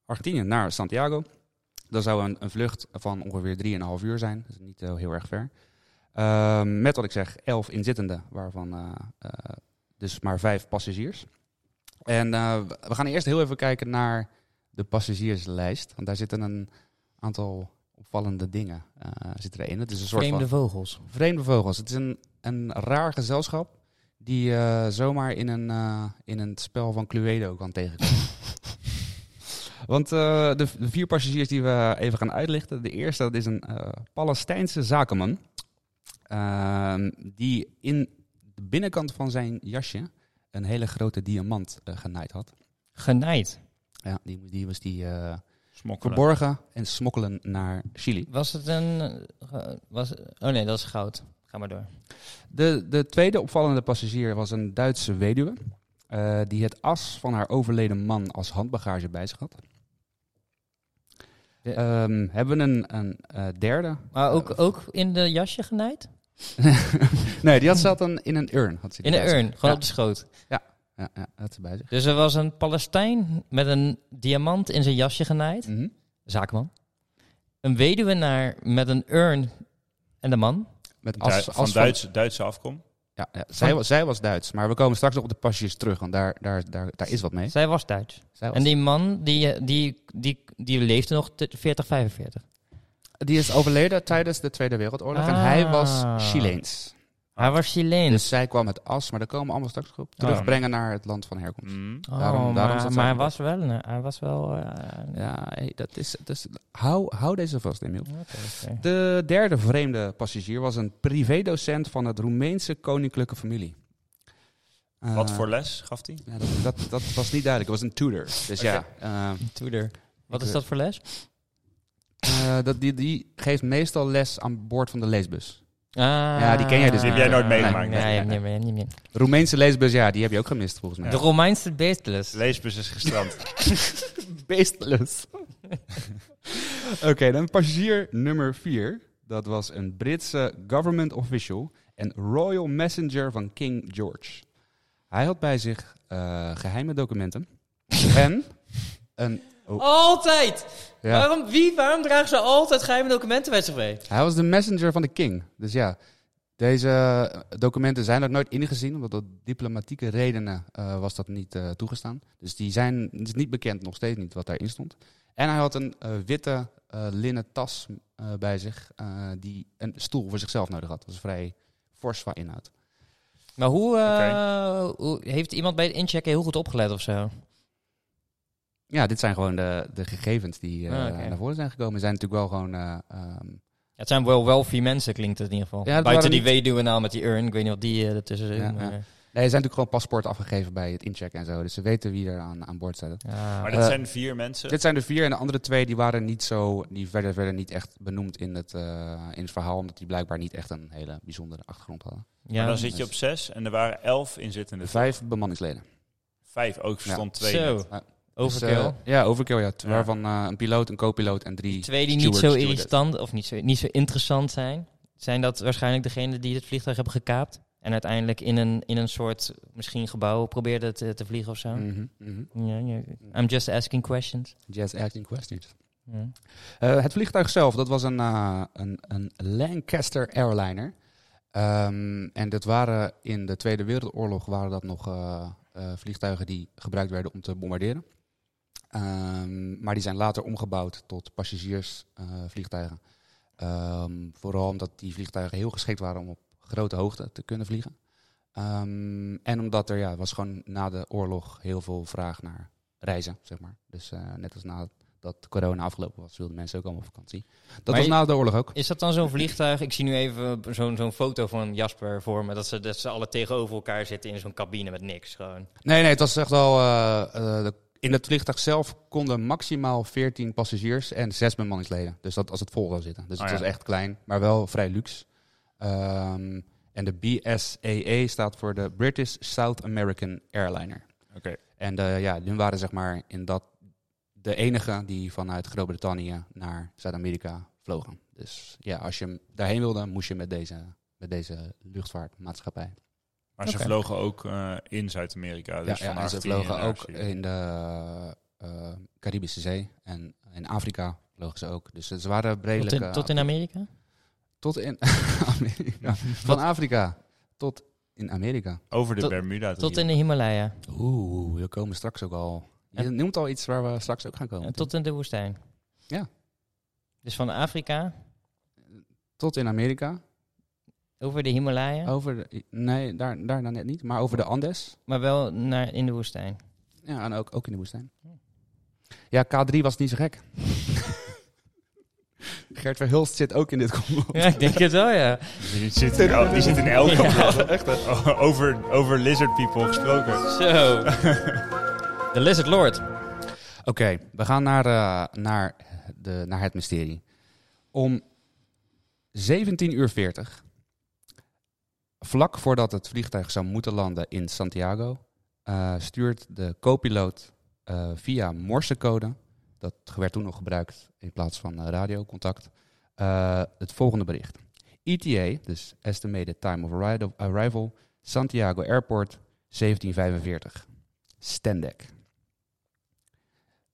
[SPEAKER 4] Argentinië, naar Santiago. Dat zou een, een vlucht van ongeveer 3,5 uur zijn, dus niet eh, heel erg ver. Ehm, met wat ik zeg, 11 inzittenden, waarvan eh, eh, dus maar 5 passagiers. En eh, we gaan eerst heel even kijken naar de passagierslijst, want daar zitten een aantal opvallende dingen eh, zitten erin. Het is een soort van...
[SPEAKER 3] Vreemde vogels.
[SPEAKER 4] Vreemde vogels. Het is een, een raar gezelschap die eh, zomaar in een, eh, in een spel van Cluedo kan tegenkomen. Want eh, de, de vier passagiers die we even gaan uitlichten. De eerste dat is een eh, Palestijnse zakenman. ehm, die in de binnenkant van zijn jasje een hele grote diamant eh, genaaid had.
[SPEAKER 3] Genaaid.
[SPEAKER 4] Ja, die, die was die eh,
[SPEAKER 2] Smokkelen.
[SPEAKER 4] verborgen en smokkelen naar Chili.
[SPEAKER 3] Was het een... eh, Was, oh nee, dat is goud. Ga maar door.
[SPEAKER 4] De, de tweede opvallende passagier was een Duitse weduwe. eh, die het as van haar overleden man als handbagage bij zich had.
[SPEAKER 3] De-
[SPEAKER 4] Ehm, hebben we een, een eh, derde? (laughs)
[SPEAKER 3] Maar ook, ook in de jasje genaaid?
[SPEAKER 4] nee, die had zat een, in een urn. Had ze die
[SPEAKER 3] In een
[SPEAKER 4] bij zich.
[SPEAKER 3] urn, gewoon
[SPEAKER 4] Ja.
[SPEAKER 3] op de schoot.
[SPEAKER 4] Ja, ja, had ze bij zich.
[SPEAKER 3] Dus er was een Palestijn met een diamant in zijn jasje genaaid.
[SPEAKER 4] Mhm.
[SPEAKER 3] Zaakman. Een weduwenaar met een urn en de man.
[SPEAKER 4] Met
[SPEAKER 2] Dui-
[SPEAKER 4] as,
[SPEAKER 2] van
[SPEAKER 4] as
[SPEAKER 2] Duitse, Duitse afkom.
[SPEAKER 4] Ja, ja, zij, was, zij was Duits, maar we komen straks nog op de passagiers terug, want daar, daar, daar, daar is wat mee.
[SPEAKER 3] Zij was Duits.
[SPEAKER 4] Zij was-
[SPEAKER 3] En die man, die, eh, die, die, die, leefde nog t- 40, 45.
[SPEAKER 4] die is overleden tijdens de Tweede Wereldoorlog. En
[SPEAKER 3] Ah.
[SPEAKER 4] hij was Chileens.
[SPEAKER 3] Hij was Chileens.
[SPEAKER 4] Dus zij kwam met as, maar daar komen we allemaal straks op. Terugbrengen naar het land van herkomst.
[SPEAKER 2] Mm.
[SPEAKER 3] Oh,
[SPEAKER 4] daarom- daarom
[SPEAKER 3] maar,
[SPEAKER 4] is het zo
[SPEAKER 3] maar hij
[SPEAKER 4] gebeurd.
[SPEAKER 3] was wel... een- Hij was wel eh,
[SPEAKER 4] Ja, hey, dat is, dat is, hou, hou deze vast, Emiel.
[SPEAKER 3] oké, oké.
[SPEAKER 4] De derde vreemde passagier was een privédocent van het Roemeense koninklijke familie. Eh,
[SPEAKER 2] Wat voor les gaf hij?
[SPEAKER 4] Ja, dat, dat, dat was niet duidelijk. Het was een tutor. Dus ja, eh,
[SPEAKER 3] Tudor. Wat is
[SPEAKER 4] Ik, eh,
[SPEAKER 3] dat voor les?
[SPEAKER 4] eh, dat, die, die geeft meestal les aan boord van de leesbus.
[SPEAKER 3] Ah,
[SPEAKER 4] die ken jij dus
[SPEAKER 2] Die heb jij nooit
[SPEAKER 3] nee.
[SPEAKER 2] meegemaakt,
[SPEAKER 3] Nee,
[SPEAKER 4] nee.
[SPEAKER 3] nee, nee, nee, nee, nee.
[SPEAKER 4] Roemeense leesbus, ja, die heb je ook gemist volgens mij.
[SPEAKER 3] De Romeinse beestles.
[SPEAKER 2] Leesbus is gestrand.
[SPEAKER 4] Beestelus. (laughs) Oké, dan passagier nummer 4. Dat was een Britse government official en royal messenger van King George. Hij had bij zich eh, geheime documenten en een... Oh,
[SPEAKER 3] Altijd!
[SPEAKER 4] ja.
[SPEAKER 3] Waarom, wie, waarom dragen ze altijd geheime documenten bij zich mee?
[SPEAKER 4] Hij was de messenger van de king. Dus ja, deze eh, documenten zijn er nooit ingezien, omdat door diplomatieke redenen eh, was dat niet eh, toegestaan. Dus die zijn het is niet bekend, nog steeds niet, wat daarin stond. En hij had een eh, witte eh, linnen tas eh, bij zich, eh, die een stoel voor zichzelf nodig had. Dat was vrij fors qua inhoud.
[SPEAKER 3] Maar hoe, eh, hoe- heeft iemand bij het inchecken heel goed opgelet of zo?
[SPEAKER 4] Ja, dit zijn gewoon de, de gegevens die eh,
[SPEAKER 3] Ah, oké.
[SPEAKER 4] naar voren zijn gekomen. Zijn natuurlijk wel gewoon... eh, ehm,
[SPEAKER 3] Het zijn wel wealthy mensen, klinkt het in ieder geval.
[SPEAKER 4] Ja, dat
[SPEAKER 3] Buiten
[SPEAKER 4] waren
[SPEAKER 3] die
[SPEAKER 4] niet-
[SPEAKER 3] weduwe nou met die urn, ik weet niet wat die eh, ertussen zit.
[SPEAKER 4] Ja,
[SPEAKER 3] maar-
[SPEAKER 4] ja. nee, er zijn natuurlijk gewoon paspoorten afgegeven bij het inchecken en zo. Dus ze weten wie er aan, aan boord zaten.
[SPEAKER 2] (laughs)
[SPEAKER 3] Ja.
[SPEAKER 2] Maar dat
[SPEAKER 4] Eh,
[SPEAKER 2] zijn vier mensen.
[SPEAKER 4] Dit zijn de vier en de andere twee die waren niet zo, die werden, werden niet echt benoemd in het, eh, in het verhaal, omdat die blijkbaar niet echt een hele bijzondere achtergrond hadden.
[SPEAKER 3] Ja.
[SPEAKER 2] maar dan zit je op zes en er waren elf inzittenden.
[SPEAKER 4] Vijf bemanningsleden.
[SPEAKER 2] Vijf, ook verstand twee.
[SPEAKER 3] Zo,
[SPEAKER 2] net.
[SPEAKER 3] overkill.
[SPEAKER 4] Dus, eh, ja, overkill, ja.
[SPEAKER 2] Ja.
[SPEAKER 4] Waarvan eh, een piloot, een co-piloot en drie.
[SPEAKER 3] Twee die niet
[SPEAKER 4] Steward,
[SPEAKER 3] zo
[SPEAKER 4] stewardess.
[SPEAKER 3] irritant of niet zo, niet zo interessant zijn, zijn dat waarschijnlijk degenen die het vliegtuig hebben gekaapt. En uiteindelijk in een, in een soort, misschien gebouw, probeerden te, te vliegen of zo.
[SPEAKER 4] Mhm, mhm.
[SPEAKER 3] Ja, ja. I'm just asking questions.
[SPEAKER 4] Just acting questions.
[SPEAKER 3] Ja.
[SPEAKER 4] Eh, het vliegtuig zelf, dat was een, eh, een, een Lancaster Airliner. Ehm, en dat waren in de Tweede Wereldoorlog waren dat nog eh, eh, vliegtuigen die gebruikt werden om te bombarderen. Ehm, maar die zijn later omgebouwd tot passagiersvliegtuigen. Ehm, vooral omdat die vliegtuigen heel geschikt waren om op grote hoogte te kunnen vliegen. Ehm, en omdat er ja, was gewoon na de oorlog heel veel vraag naar reizen, zeg maar. Dus eh, net als na dat corona afgelopen was, wilden mensen ook allemaal op vakantie. Dat
[SPEAKER 3] Maar
[SPEAKER 4] was
[SPEAKER 3] je-
[SPEAKER 4] na de oorlog ook.
[SPEAKER 3] Is dat dan
[SPEAKER 4] (clears throat)
[SPEAKER 3] zo'n vliegtuig? Ik zie nu even zo'n zo'n foto van Jasper voor me. Dat ze, dat ze alle tegenover elkaar zitten in zo'n cabine met niks. Gewoon.
[SPEAKER 4] Nee, nee, het was echt wel. eh, eh, de- in het vliegtuig zelf konden maximaal 14 passagiers en 6 bemanningsleden. Dus dat als het vol zou zitten. Dus
[SPEAKER 2] Ah,
[SPEAKER 4] het
[SPEAKER 2] ja.
[SPEAKER 4] was echt klein, maar wel vrij luxe. Ehm, en de BSAA staat voor de British South American Airliner.
[SPEAKER 2] Oké.
[SPEAKER 4] En eh, ja, hun waren zeg maar in dat de enige die vanuit Groot-Brittannië naar Zuid-Amerika vlogen. Dus ja, als je daarheen wilde, moest je met deze, met deze luchtvaartmaatschappij.
[SPEAKER 2] Maar ze
[SPEAKER 3] Oké.
[SPEAKER 2] vlogen ook eh, in Zuid-Amerika. Dus
[SPEAKER 4] ja, ja,
[SPEAKER 2] van
[SPEAKER 4] en ze
[SPEAKER 2] 18
[SPEAKER 4] vlogen
[SPEAKER 2] naar
[SPEAKER 4] ook
[SPEAKER 2] 18.
[SPEAKER 4] in de eh, Caribische Zee en in Afrika vlogen ze ook. Dus ze waren
[SPEAKER 3] Tot
[SPEAKER 4] redelijk...
[SPEAKER 3] in, tot in Amerika?
[SPEAKER 4] Tot in (laughs) Amerika. Van Afrika tot in Amerika.
[SPEAKER 2] Over de
[SPEAKER 3] tot-
[SPEAKER 2] Bermuda.
[SPEAKER 3] Tot in de Himalaya.
[SPEAKER 4] Oeh, we komen straks ook al... Je
[SPEAKER 3] En-
[SPEAKER 4] noemt al iets waar we straks ook gaan komen.
[SPEAKER 3] En tot in de woestijn.
[SPEAKER 4] Ja.
[SPEAKER 3] Dus van Afrika
[SPEAKER 4] Tot in Amerika.
[SPEAKER 3] over de Himalaya,
[SPEAKER 4] Over de- nee, daar, daar dan net niet. Maar over de Andes.
[SPEAKER 3] maar wel naar in de woestijn.
[SPEAKER 4] Ja, en ook, ook in de woestijn. Ja, K3 was niet zo gek. (laughs) Gert Verhulst zit ook in dit (laughs) combo.
[SPEAKER 3] Ja, ik denk het wel, ja.
[SPEAKER 2] Die zit in, el- die zit in elk complot. O- (laughs) Over, over lizard people gesproken.
[SPEAKER 3] Zo. (laughs) De Lizard Lord.
[SPEAKER 4] Oké, we gaan naar, eh, naar, de, naar het mysterie. Om 17.40 uur, vlak voordat het vliegtuig zou moeten landen in Santiago, eh, stuurt de co-piloot eh, via morsecode, dat werd toen nog gebruikt in plaats van eh, radiocontact, eh, het volgende bericht. ETA, dus Estimated Time of Arri- Arrival, Santiago Airport, 1745. Stendek.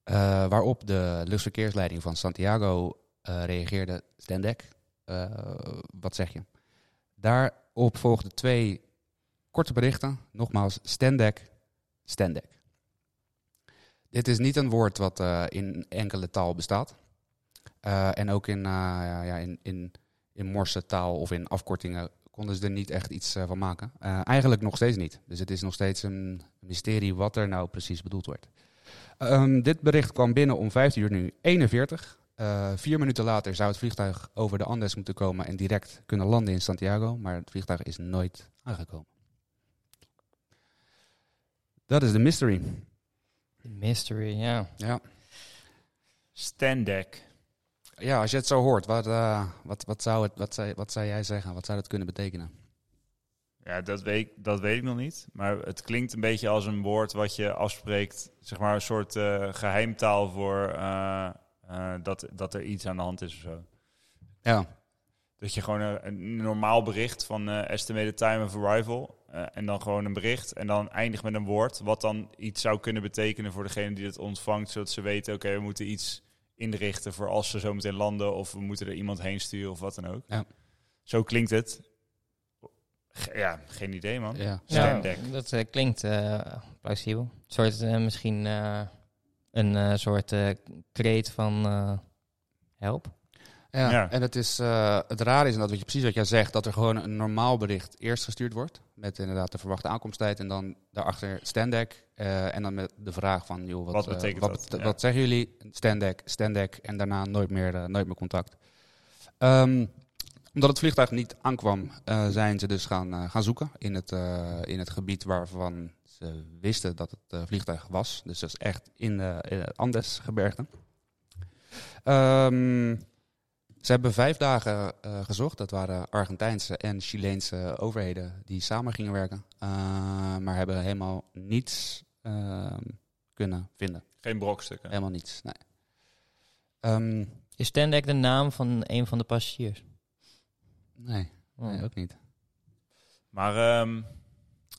[SPEAKER 4] Eh, waarop de luchtverkeersleiding van Santiago eh, reageerde, Stendek, eh, wat zeg je? Daarop volgden twee korte berichten. Nogmaals, Stendek, Stendek. Dit is niet een woord wat eh, in enkele taal bestaat. Eh, Eh, en ook in, eh, ja, ja, in, in, in morse taal of in afkortingen konden ze er niet echt iets eh, van maken. Eh, eigenlijk nog steeds niet. Dus het is nog steeds een mysterie wat er nou precies bedoeld wordt. Ehm, dit bericht kwam binnen om 15 uur nu 41. Eh, vier minuten later zou het vliegtuig over de Andes moeten komen en direct kunnen landen in Santiago. Maar het vliegtuig is nooit aangekomen. Dat is de mystery.
[SPEAKER 3] Mystery, ja.
[SPEAKER 4] Ja.
[SPEAKER 2] Standek.
[SPEAKER 4] Ja, als je het zo hoort, wat, eh, wat, wat, zou, het, wat, zou, wat zou jij zeggen? Wat zou dat kunnen betekenen?
[SPEAKER 2] Ja, dat weet, ik- dat weet ik nog niet. Maar het klinkt een beetje als een woord wat je afspreekt. Zeg maar een soort eh, geheimtaal voor eh, eh, dat, dat er iets aan de hand is of zo.
[SPEAKER 4] Ja,
[SPEAKER 2] Dat je gewoon een, een normaal bericht van eh, estimated time of arrival. eh, en dan gewoon een bericht. En dan eindigt met een woord. Wat dan iets zou kunnen betekenen voor degene die het ontvangt. Zodat ze weten, oké, we moeten iets inrichten voor als ze zo meteen landen. Of we moeten er iemand heen sturen of wat dan ook.
[SPEAKER 4] Ja.
[SPEAKER 2] Zo klinkt het. Ge- ja, geen idee man.
[SPEAKER 4] ja.
[SPEAKER 3] Ja,
[SPEAKER 2] Standek.
[SPEAKER 3] dat eh, klinkt eh, plausibel. Een soort, eh, misschien eh, een eh, soort eh, kreet van eh, help.
[SPEAKER 4] Ja,
[SPEAKER 2] Ja.
[SPEAKER 4] en het, is, eh, het raar is inderdaad, wat je, precies wat jij zegt, dat er gewoon een normaal bericht eerst gestuurd wordt. Met inderdaad de verwachte aankomsttijd en dan daarachter standek. eh, en dan met de vraag van, joh, wat,
[SPEAKER 2] Wat
[SPEAKER 4] eh,
[SPEAKER 2] betekent
[SPEAKER 4] wat,
[SPEAKER 2] dat?
[SPEAKER 4] bete-
[SPEAKER 2] Ja.
[SPEAKER 4] wat zeggen jullie? Standek, standek en daarna nooit meer, eh, nooit meer contact. Ehm, omdat het vliegtuig niet aankwam, eh, zijn ze dus gaan, eh, gaan zoeken in het, eh, in het gebied waarvan ze wisten dat het eh, vliegtuig was. Dus dat is echt in, de in het Andesgebergte. Ehm, ze hebben vijf dagen eh, gezocht. Dat waren Argentijnse en Chileense overheden die samen gingen werken. Eh, maar hebben helemaal niets ehm, kunnen vinden.
[SPEAKER 2] Geen brokstukken.
[SPEAKER 4] Helemaal niets, nee. Ehm,
[SPEAKER 3] Is Stendek de naam van een van de passagiers?
[SPEAKER 4] nee,
[SPEAKER 3] Oh.
[SPEAKER 4] nee, ook niet.
[SPEAKER 2] Maar ehm,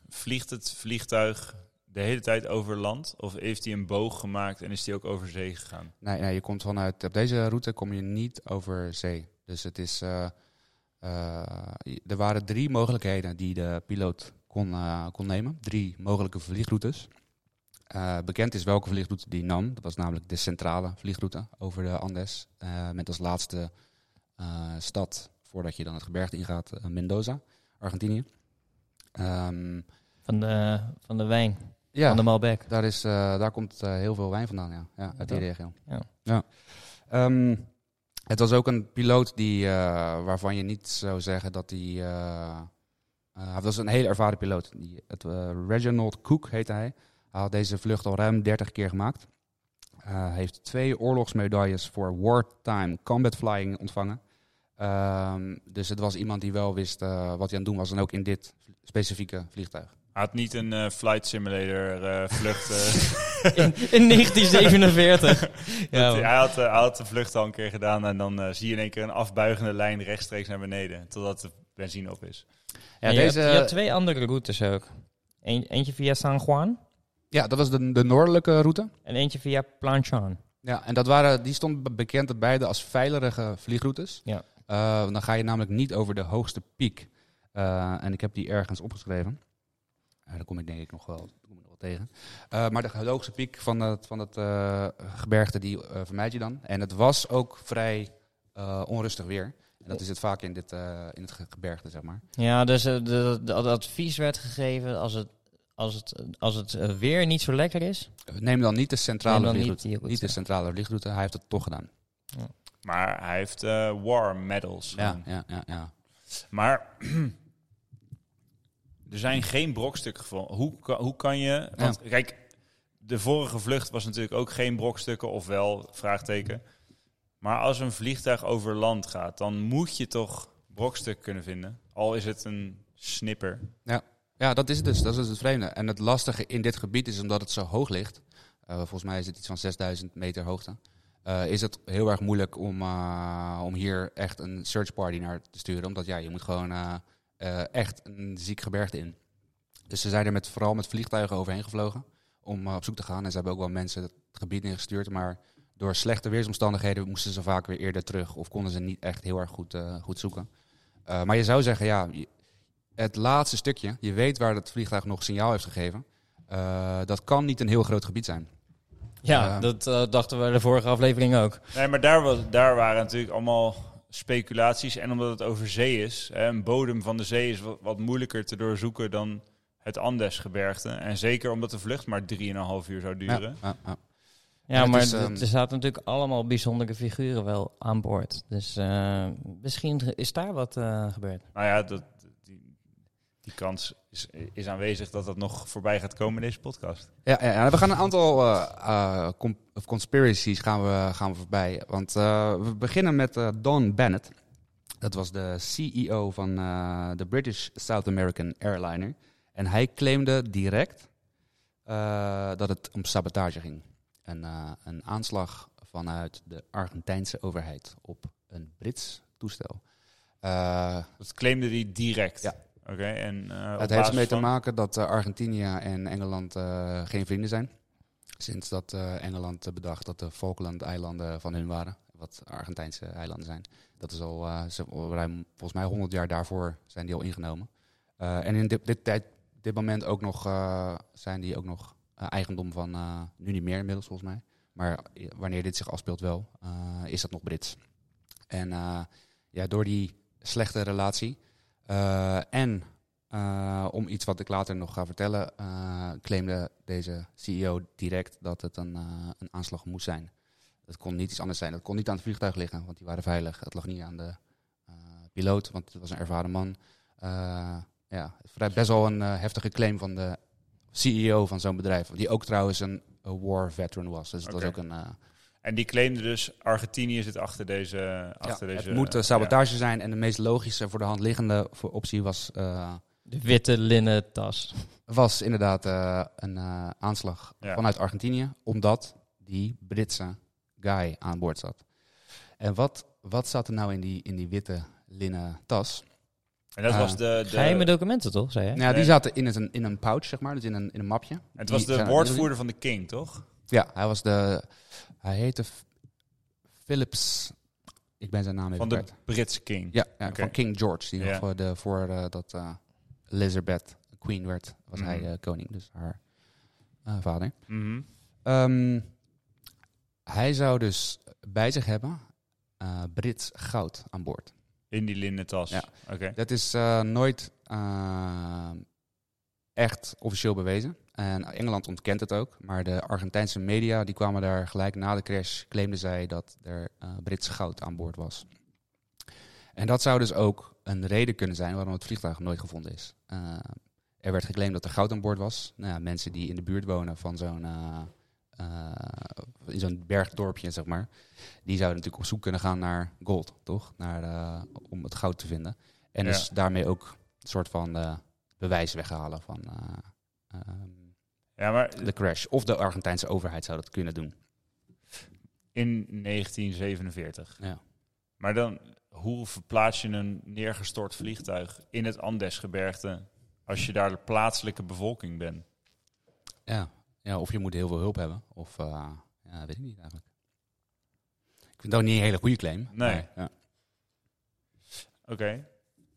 [SPEAKER 2] vliegt het vliegtuig de hele tijd over land? Of heeft hij een boog gemaakt en is hij ook over zee gegaan?
[SPEAKER 4] Nee, nee, je komt vanuit. Op deze route kom je niet over zee. Dus het is. eh, eh, je- er waren drie mogelijkheden die de piloot kon, eh, kon nemen. Drie mogelijke vliegroutes. Eh, bekend is welke vliegroute die nam. Dat was namelijk de centrale vliegroute over de Andes. eh, met als laatste eh, stad, voordat je dan het gebergte ingaat, eh, Mendoza, Argentinië. Ehm,
[SPEAKER 3] Van de, van de wijn,
[SPEAKER 4] ja,
[SPEAKER 3] van de Malbec.
[SPEAKER 4] daar, is, eh, daar komt eh, heel veel wijn vandaan, ja. ja uit die
[SPEAKER 3] Ja.
[SPEAKER 4] regio.
[SPEAKER 3] Ja.
[SPEAKER 4] Ehm, het was ook een piloot die, eh, waarvan je niet zou zeggen dat hij... eh, eh, hij was een heel ervaren piloot. Die, het, eh, Reginald Cook heette hij. Hij had deze vlucht al ruim 30 keer gemaakt. Eh, Hij heeft twee oorlogsmedailles voor wartime combat flying ontvangen. Ehm, dus het was iemand die wel wist eh, wat hij aan het doen was. En ook in dit specifieke vliegtuig.
[SPEAKER 2] Hij had niet een eh, flight simulator eh,
[SPEAKER 3] (laughs)
[SPEAKER 2] vlucht. eh.
[SPEAKER 3] (laughs) In, (laughs) in 1947. ja,
[SPEAKER 2] Dat-
[SPEAKER 3] man.
[SPEAKER 2] hij, had, eh, hij had de vlucht al een keer gedaan en dan eh, zie je in één keer een afbuigende lijn rechtstreeks naar beneden. Totdat de benzine op is.
[SPEAKER 4] Ja,
[SPEAKER 3] En je,
[SPEAKER 4] deze-
[SPEAKER 3] had, je had twee andere routes ook. Eén- eentje via San Juan
[SPEAKER 4] Ja, dat was de, de noordelijke route.
[SPEAKER 3] en eentje via Planchan.
[SPEAKER 4] Ja, en dat waren, die stond be- bekend dat beide als veilige vliegroutes.
[SPEAKER 3] Ja.
[SPEAKER 4] Eh, want dan ga je namelijk niet over de hoogste piek. Eh, en ik heb die ergens opgeschreven. Eh daar kom ik denk ik nog wel, daar kom ik nog wel tegen. Eh, maar de hoogste piek van het, van het eh, gebergte, die eh, vermijd je dan. En het was ook vrij eh, onrustig weer. En dat is het vaak in, dit, eh, in het ge- gebergte, zeg maar.
[SPEAKER 3] Ja, dus eh, de, de- de advies werd gegeven als het, als het, als het eh, weer niet zo lekker is.
[SPEAKER 4] Eh, Neem dan niet de
[SPEAKER 3] neem
[SPEAKER 4] centrale
[SPEAKER 3] dan
[SPEAKER 4] vliegroute.
[SPEAKER 3] die
[SPEAKER 4] Niet,
[SPEAKER 3] route.
[SPEAKER 4] de centrale vliegroute, hij heeft het toch gedaan.
[SPEAKER 2] Maar hij heeft eh, war medals.
[SPEAKER 4] Ja,
[SPEAKER 2] gewonnen.
[SPEAKER 4] ja, ja. ja.
[SPEAKER 2] Maar (clears throat) er zijn geen brokstukken gevonden. Hoe, ka- hoe kan je... Want kijk, de vorige vlucht was natuurlijk ook geen brokstukken, of wel, vraagteken. Maar als een vliegtuig over land gaat, dan moet je toch brokstuk kunnen vinden. Al is het een snipper.
[SPEAKER 4] Ja, dat is het dus. Dat is dus het vreemde. En het lastige in dit gebied is omdat het zo hoog ligt. eh, volgens mij is het iets van 6000 meter hoogte. eh, is het heel erg moeilijk om, eh, om hier echt een search party naar te sturen. Omdat ja, je moet gewoon eh, eh, echt een ziek gebergte in. Dus ze zijn er met, vooral met vliegtuigen overheen gevlogen om eh, op zoek te gaan. En ze hebben ook wel mensen het gebied ingestuurd. Maar door slechte weersomstandigheden moesten ze vaak weer eerder terug. Of konden ze niet echt heel erg goed, eh, goed zoeken. Eh, maar je zou zeggen, ja, je- het laatste stukje, je weet waar het vliegtuig nog signaal heeft gegeven. eh, dat kan niet een heel groot gebied zijn.
[SPEAKER 3] Ja,
[SPEAKER 4] Eh,
[SPEAKER 3] dat eh, dachten we de vorige aflevering ook.
[SPEAKER 2] Nee, maar daar, was, daar waren natuurlijk allemaal speculaties. En omdat het over zee is, hè, een bodem van de zee is wat, wat moeilijker te doorzoeken dan het Andesgebergte. En zeker omdat de vlucht maar 3,5 uur zou
[SPEAKER 4] Ja,
[SPEAKER 2] duren.
[SPEAKER 4] ja, ja.
[SPEAKER 3] Ja,
[SPEAKER 4] het
[SPEAKER 3] maar
[SPEAKER 4] is,
[SPEAKER 3] d-
[SPEAKER 4] ehm,
[SPEAKER 3] er zaten natuurlijk allemaal bijzondere figuren wel aan boord. Dus eh, misschien is daar wat eh, gebeurd.
[SPEAKER 2] Nou ja, dat, die, die kans is, is aanwezig dat dat nog voorbij gaat komen in deze podcast.
[SPEAKER 4] Ja, ja, ja, we gaan een aantal eh, eh, com- of conspiracies gaan we, gaan we voorbij. Want eh, we beginnen met eh, Don Bennett. Dat was de CEO van eh, de British South American Airliner. En hij claimde direct eh, dat het om sabotage ging. Een, eh, een aanslag vanuit de Argentijnse overheid op een Brits toestel. Eh,
[SPEAKER 2] Dat claimde hij direct.
[SPEAKER 4] Ja.
[SPEAKER 2] Oké, en eh, op
[SPEAKER 4] het heeft
[SPEAKER 2] basis
[SPEAKER 4] ermee te
[SPEAKER 2] van-
[SPEAKER 4] maken dat eh, Argentinië en Engeland eh, geen vrienden zijn. Sinds dat eh, Engeland eh, bedacht dat de Falkland-eilanden van hun waren. Wat Argentijnse eilanden zijn. Dat is al eh, ze- al ruim, volgens mij 100 jaar daarvoor zijn die al ingenomen. Eh, en in dit, dit, tijd, dit moment ook nog, eh, zijn die ook nog eh, eigendom van, eh, nu niet meer inmiddels volgens mij. Maar i- wanneer dit zich afspeelt wel, eh, is dat nog Brits. En eh, ja, door die slechte relatie eh, en eh, om iets wat ik later nog ga vertellen, eh, claimde deze CEO direct dat het een, eh, een aanslag moest zijn. Het kon niet iets anders zijn. Het kon niet aan het vliegtuig liggen, want die waren veilig. Het lag niet aan de eh, piloot, want het was een ervaren man. Eh, ja, vrij best wel een eh, heftige claim van de CEO van zo'n bedrijf. Die ook trouwens een eh, war veteran was. Dus het was
[SPEAKER 2] Oké.
[SPEAKER 4] ook een... eh,
[SPEAKER 2] En die claimde dus Argentinië zit achter deze... Achter
[SPEAKER 4] ja,
[SPEAKER 2] deze
[SPEAKER 4] het moet eh,
[SPEAKER 2] ja.
[SPEAKER 4] sabotage zijn. En de meest logische voor de hand liggende voor optie was... eh,
[SPEAKER 3] De witte linnen tas.
[SPEAKER 4] was inderdaad eh, een eh, aanslag
[SPEAKER 2] Ja.
[SPEAKER 4] vanuit Argentinië, omdat die Britse guy aan boord zat. En wat, wat zat er nou in die, in die witte linnen tas?
[SPEAKER 2] En dat
[SPEAKER 4] Ah.
[SPEAKER 2] was de... de
[SPEAKER 3] Geheime documenten toch, zei je?
[SPEAKER 4] Nou, ja,
[SPEAKER 2] Nee.
[SPEAKER 4] die zaten in een, in een pouch, zeg maar, dus in een, in een mapje.
[SPEAKER 2] Eh, het
[SPEAKER 4] Die
[SPEAKER 2] was de
[SPEAKER 4] zijn-
[SPEAKER 2] woordvoerder van de King, toch?
[SPEAKER 4] Ja, hij was de... Hij heette F- Philips... Ik ben zijn naam even
[SPEAKER 2] Van de
[SPEAKER 4] kwijt.
[SPEAKER 2] Britse King.
[SPEAKER 4] Ja, ja
[SPEAKER 2] Oké.
[SPEAKER 4] van King George. Die
[SPEAKER 2] Ja.
[SPEAKER 4] nog voor, de, voor eh, dat eh, Elizabeth queen werd, was hij
[SPEAKER 2] Mhm.
[SPEAKER 4] eh, koning. Dus haar eh, vader.
[SPEAKER 2] Mhm.
[SPEAKER 4] Ehm, hij zou dus bij zich hebben eh, Brits goud aan boord.
[SPEAKER 2] In die linnen tas.
[SPEAKER 4] Ja.
[SPEAKER 2] Oké.
[SPEAKER 4] Dat is eh, nooit eh, echt officieel bewezen. En Engeland ontkent het ook. Maar de Argentijnse media die kwamen daar gelijk na de crash, claimden zij dat er eh, Brits goud aan boord was. En dat zou dus ook een reden kunnen zijn waarom het vliegtuig nooit gevonden is. Eh, er werd geclaimd dat er goud aan boord was. Nou ja, mensen die in de buurt wonen van zo'n eh, eh, in zo'n bergdorpje, zeg maar, die zouden natuurlijk op zoek kunnen gaan naar gold, toch? Naar, eh, om het goud te vinden. En
[SPEAKER 2] Ja.
[SPEAKER 4] dus daarmee ook een soort van eh, bewijs weghalen van eh, ehm,
[SPEAKER 2] Ja, maar
[SPEAKER 4] de crash. Of de Argentijnse overheid zou dat kunnen doen.
[SPEAKER 2] in 1947.
[SPEAKER 4] Ja.
[SPEAKER 2] Maar dan, hoe verplaats je een neergestort vliegtuig in het Andesgebergte als je daar de plaatselijke bevolking bent?
[SPEAKER 4] Ja. ja, of je moet heel veel hulp hebben. Of eh, ja, weet ik niet eigenlijk. Ik vind dat ook niet een hele goede claim.
[SPEAKER 2] Nee.
[SPEAKER 4] maar, ja.
[SPEAKER 2] Oké.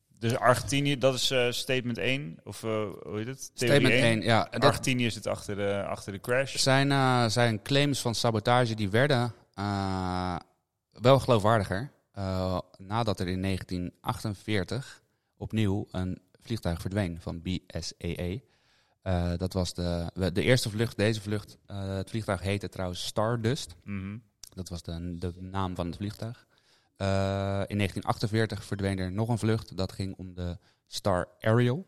[SPEAKER 2] Dus Argentinië, dat is eh, statement 1. Of eh, hoe heet het? Theorie
[SPEAKER 4] Statement
[SPEAKER 2] één.
[SPEAKER 4] 1. Ja, dat
[SPEAKER 2] Argentinië zit achter de, achter de crash.
[SPEAKER 4] zijn, eh, zijn claims van sabotage die werden eh, wel geloofwaardiger. eh, nadat er in 1948 opnieuw een vliegtuig verdween van BSAA. Eh, dat was de, we- de eerste vlucht, deze vlucht. eh, het vliegtuig heette trouwens Stardust.
[SPEAKER 2] Mhm.
[SPEAKER 4] Dat was de, de naam van het vliegtuig. Eh, in 1948 verdween er nog een vlucht. Dat ging om de Star Ariel.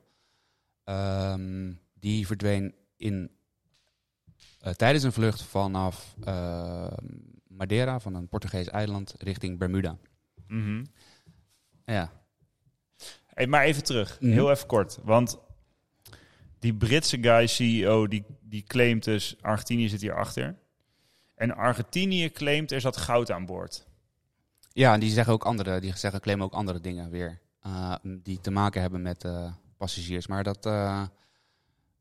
[SPEAKER 4] Ehm, die verdween in, eh, tijdens een vlucht vanaf ehm, Madeira, van een Portugees eiland, richting Bermuda.
[SPEAKER 2] Mhm.
[SPEAKER 4] Ja,
[SPEAKER 2] Hey, maar even terug,
[SPEAKER 4] Mhm.
[SPEAKER 2] heel even kort. Want die Britse guy, CEO, die, die claimt dus... Argentinië zit hierachter. En Argentinië claimt er zat goud aan boord.
[SPEAKER 4] ja en die zeggen ook andere, die zeggen, claimen ook andere dingen weer. eh, die te maken hebben met eh, passagiers. Maar dat. eh,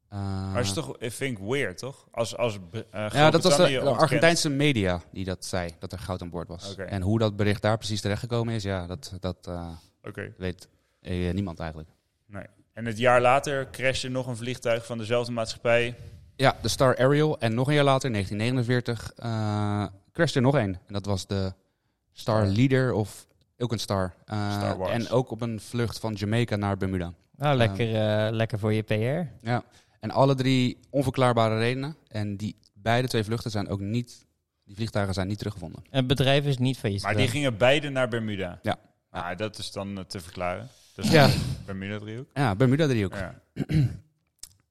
[SPEAKER 4] eh,
[SPEAKER 2] Maar dat is toch, ik vind ik weird, toch? Als, als eh,
[SPEAKER 4] Ja, dat was de,
[SPEAKER 2] Groot-Brittannië
[SPEAKER 4] de
[SPEAKER 2] ontkent-
[SPEAKER 4] Argentijnse media die dat zei, dat er goud aan boord was.
[SPEAKER 2] Oké.
[SPEAKER 4] En hoe dat bericht daar precies terechtgekomen is, ja, dat, dat eh,
[SPEAKER 2] Oké.
[SPEAKER 4] weet eh, niemand eigenlijk.
[SPEAKER 2] En het jaar later crashte nog een vliegtuig van dezelfde maatschappij
[SPEAKER 4] Ja, de Star Ariel. En nog een jaar later, 1949, eh crasht er nog één. En dat was de Star Leader of ook een Star. Eh,
[SPEAKER 2] Star Wars.
[SPEAKER 4] En ook op een vlucht van Jamaica naar Bermuda.
[SPEAKER 3] Nou, lekker, eh, lekker voor je PR.
[SPEAKER 4] Ja. En alle drie onverklaarbare redenen. En die beide twee vluchten zijn ook niet... Die vliegtuigen zijn niet teruggevonden.
[SPEAKER 3] Het bedrijf is niet failliet.
[SPEAKER 2] Maar die gingen beide naar Bermuda.
[SPEAKER 4] Ja.
[SPEAKER 2] Ah, dat is dan eh, te verklaren. Dus
[SPEAKER 4] Ja.
[SPEAKER 2] Bermuda-driehoek.
[SPEAKER 4] Ja, Bermuda driehoek. Ja,
[SPEAKER 2] Ja.
[SPEAKER 4] toch?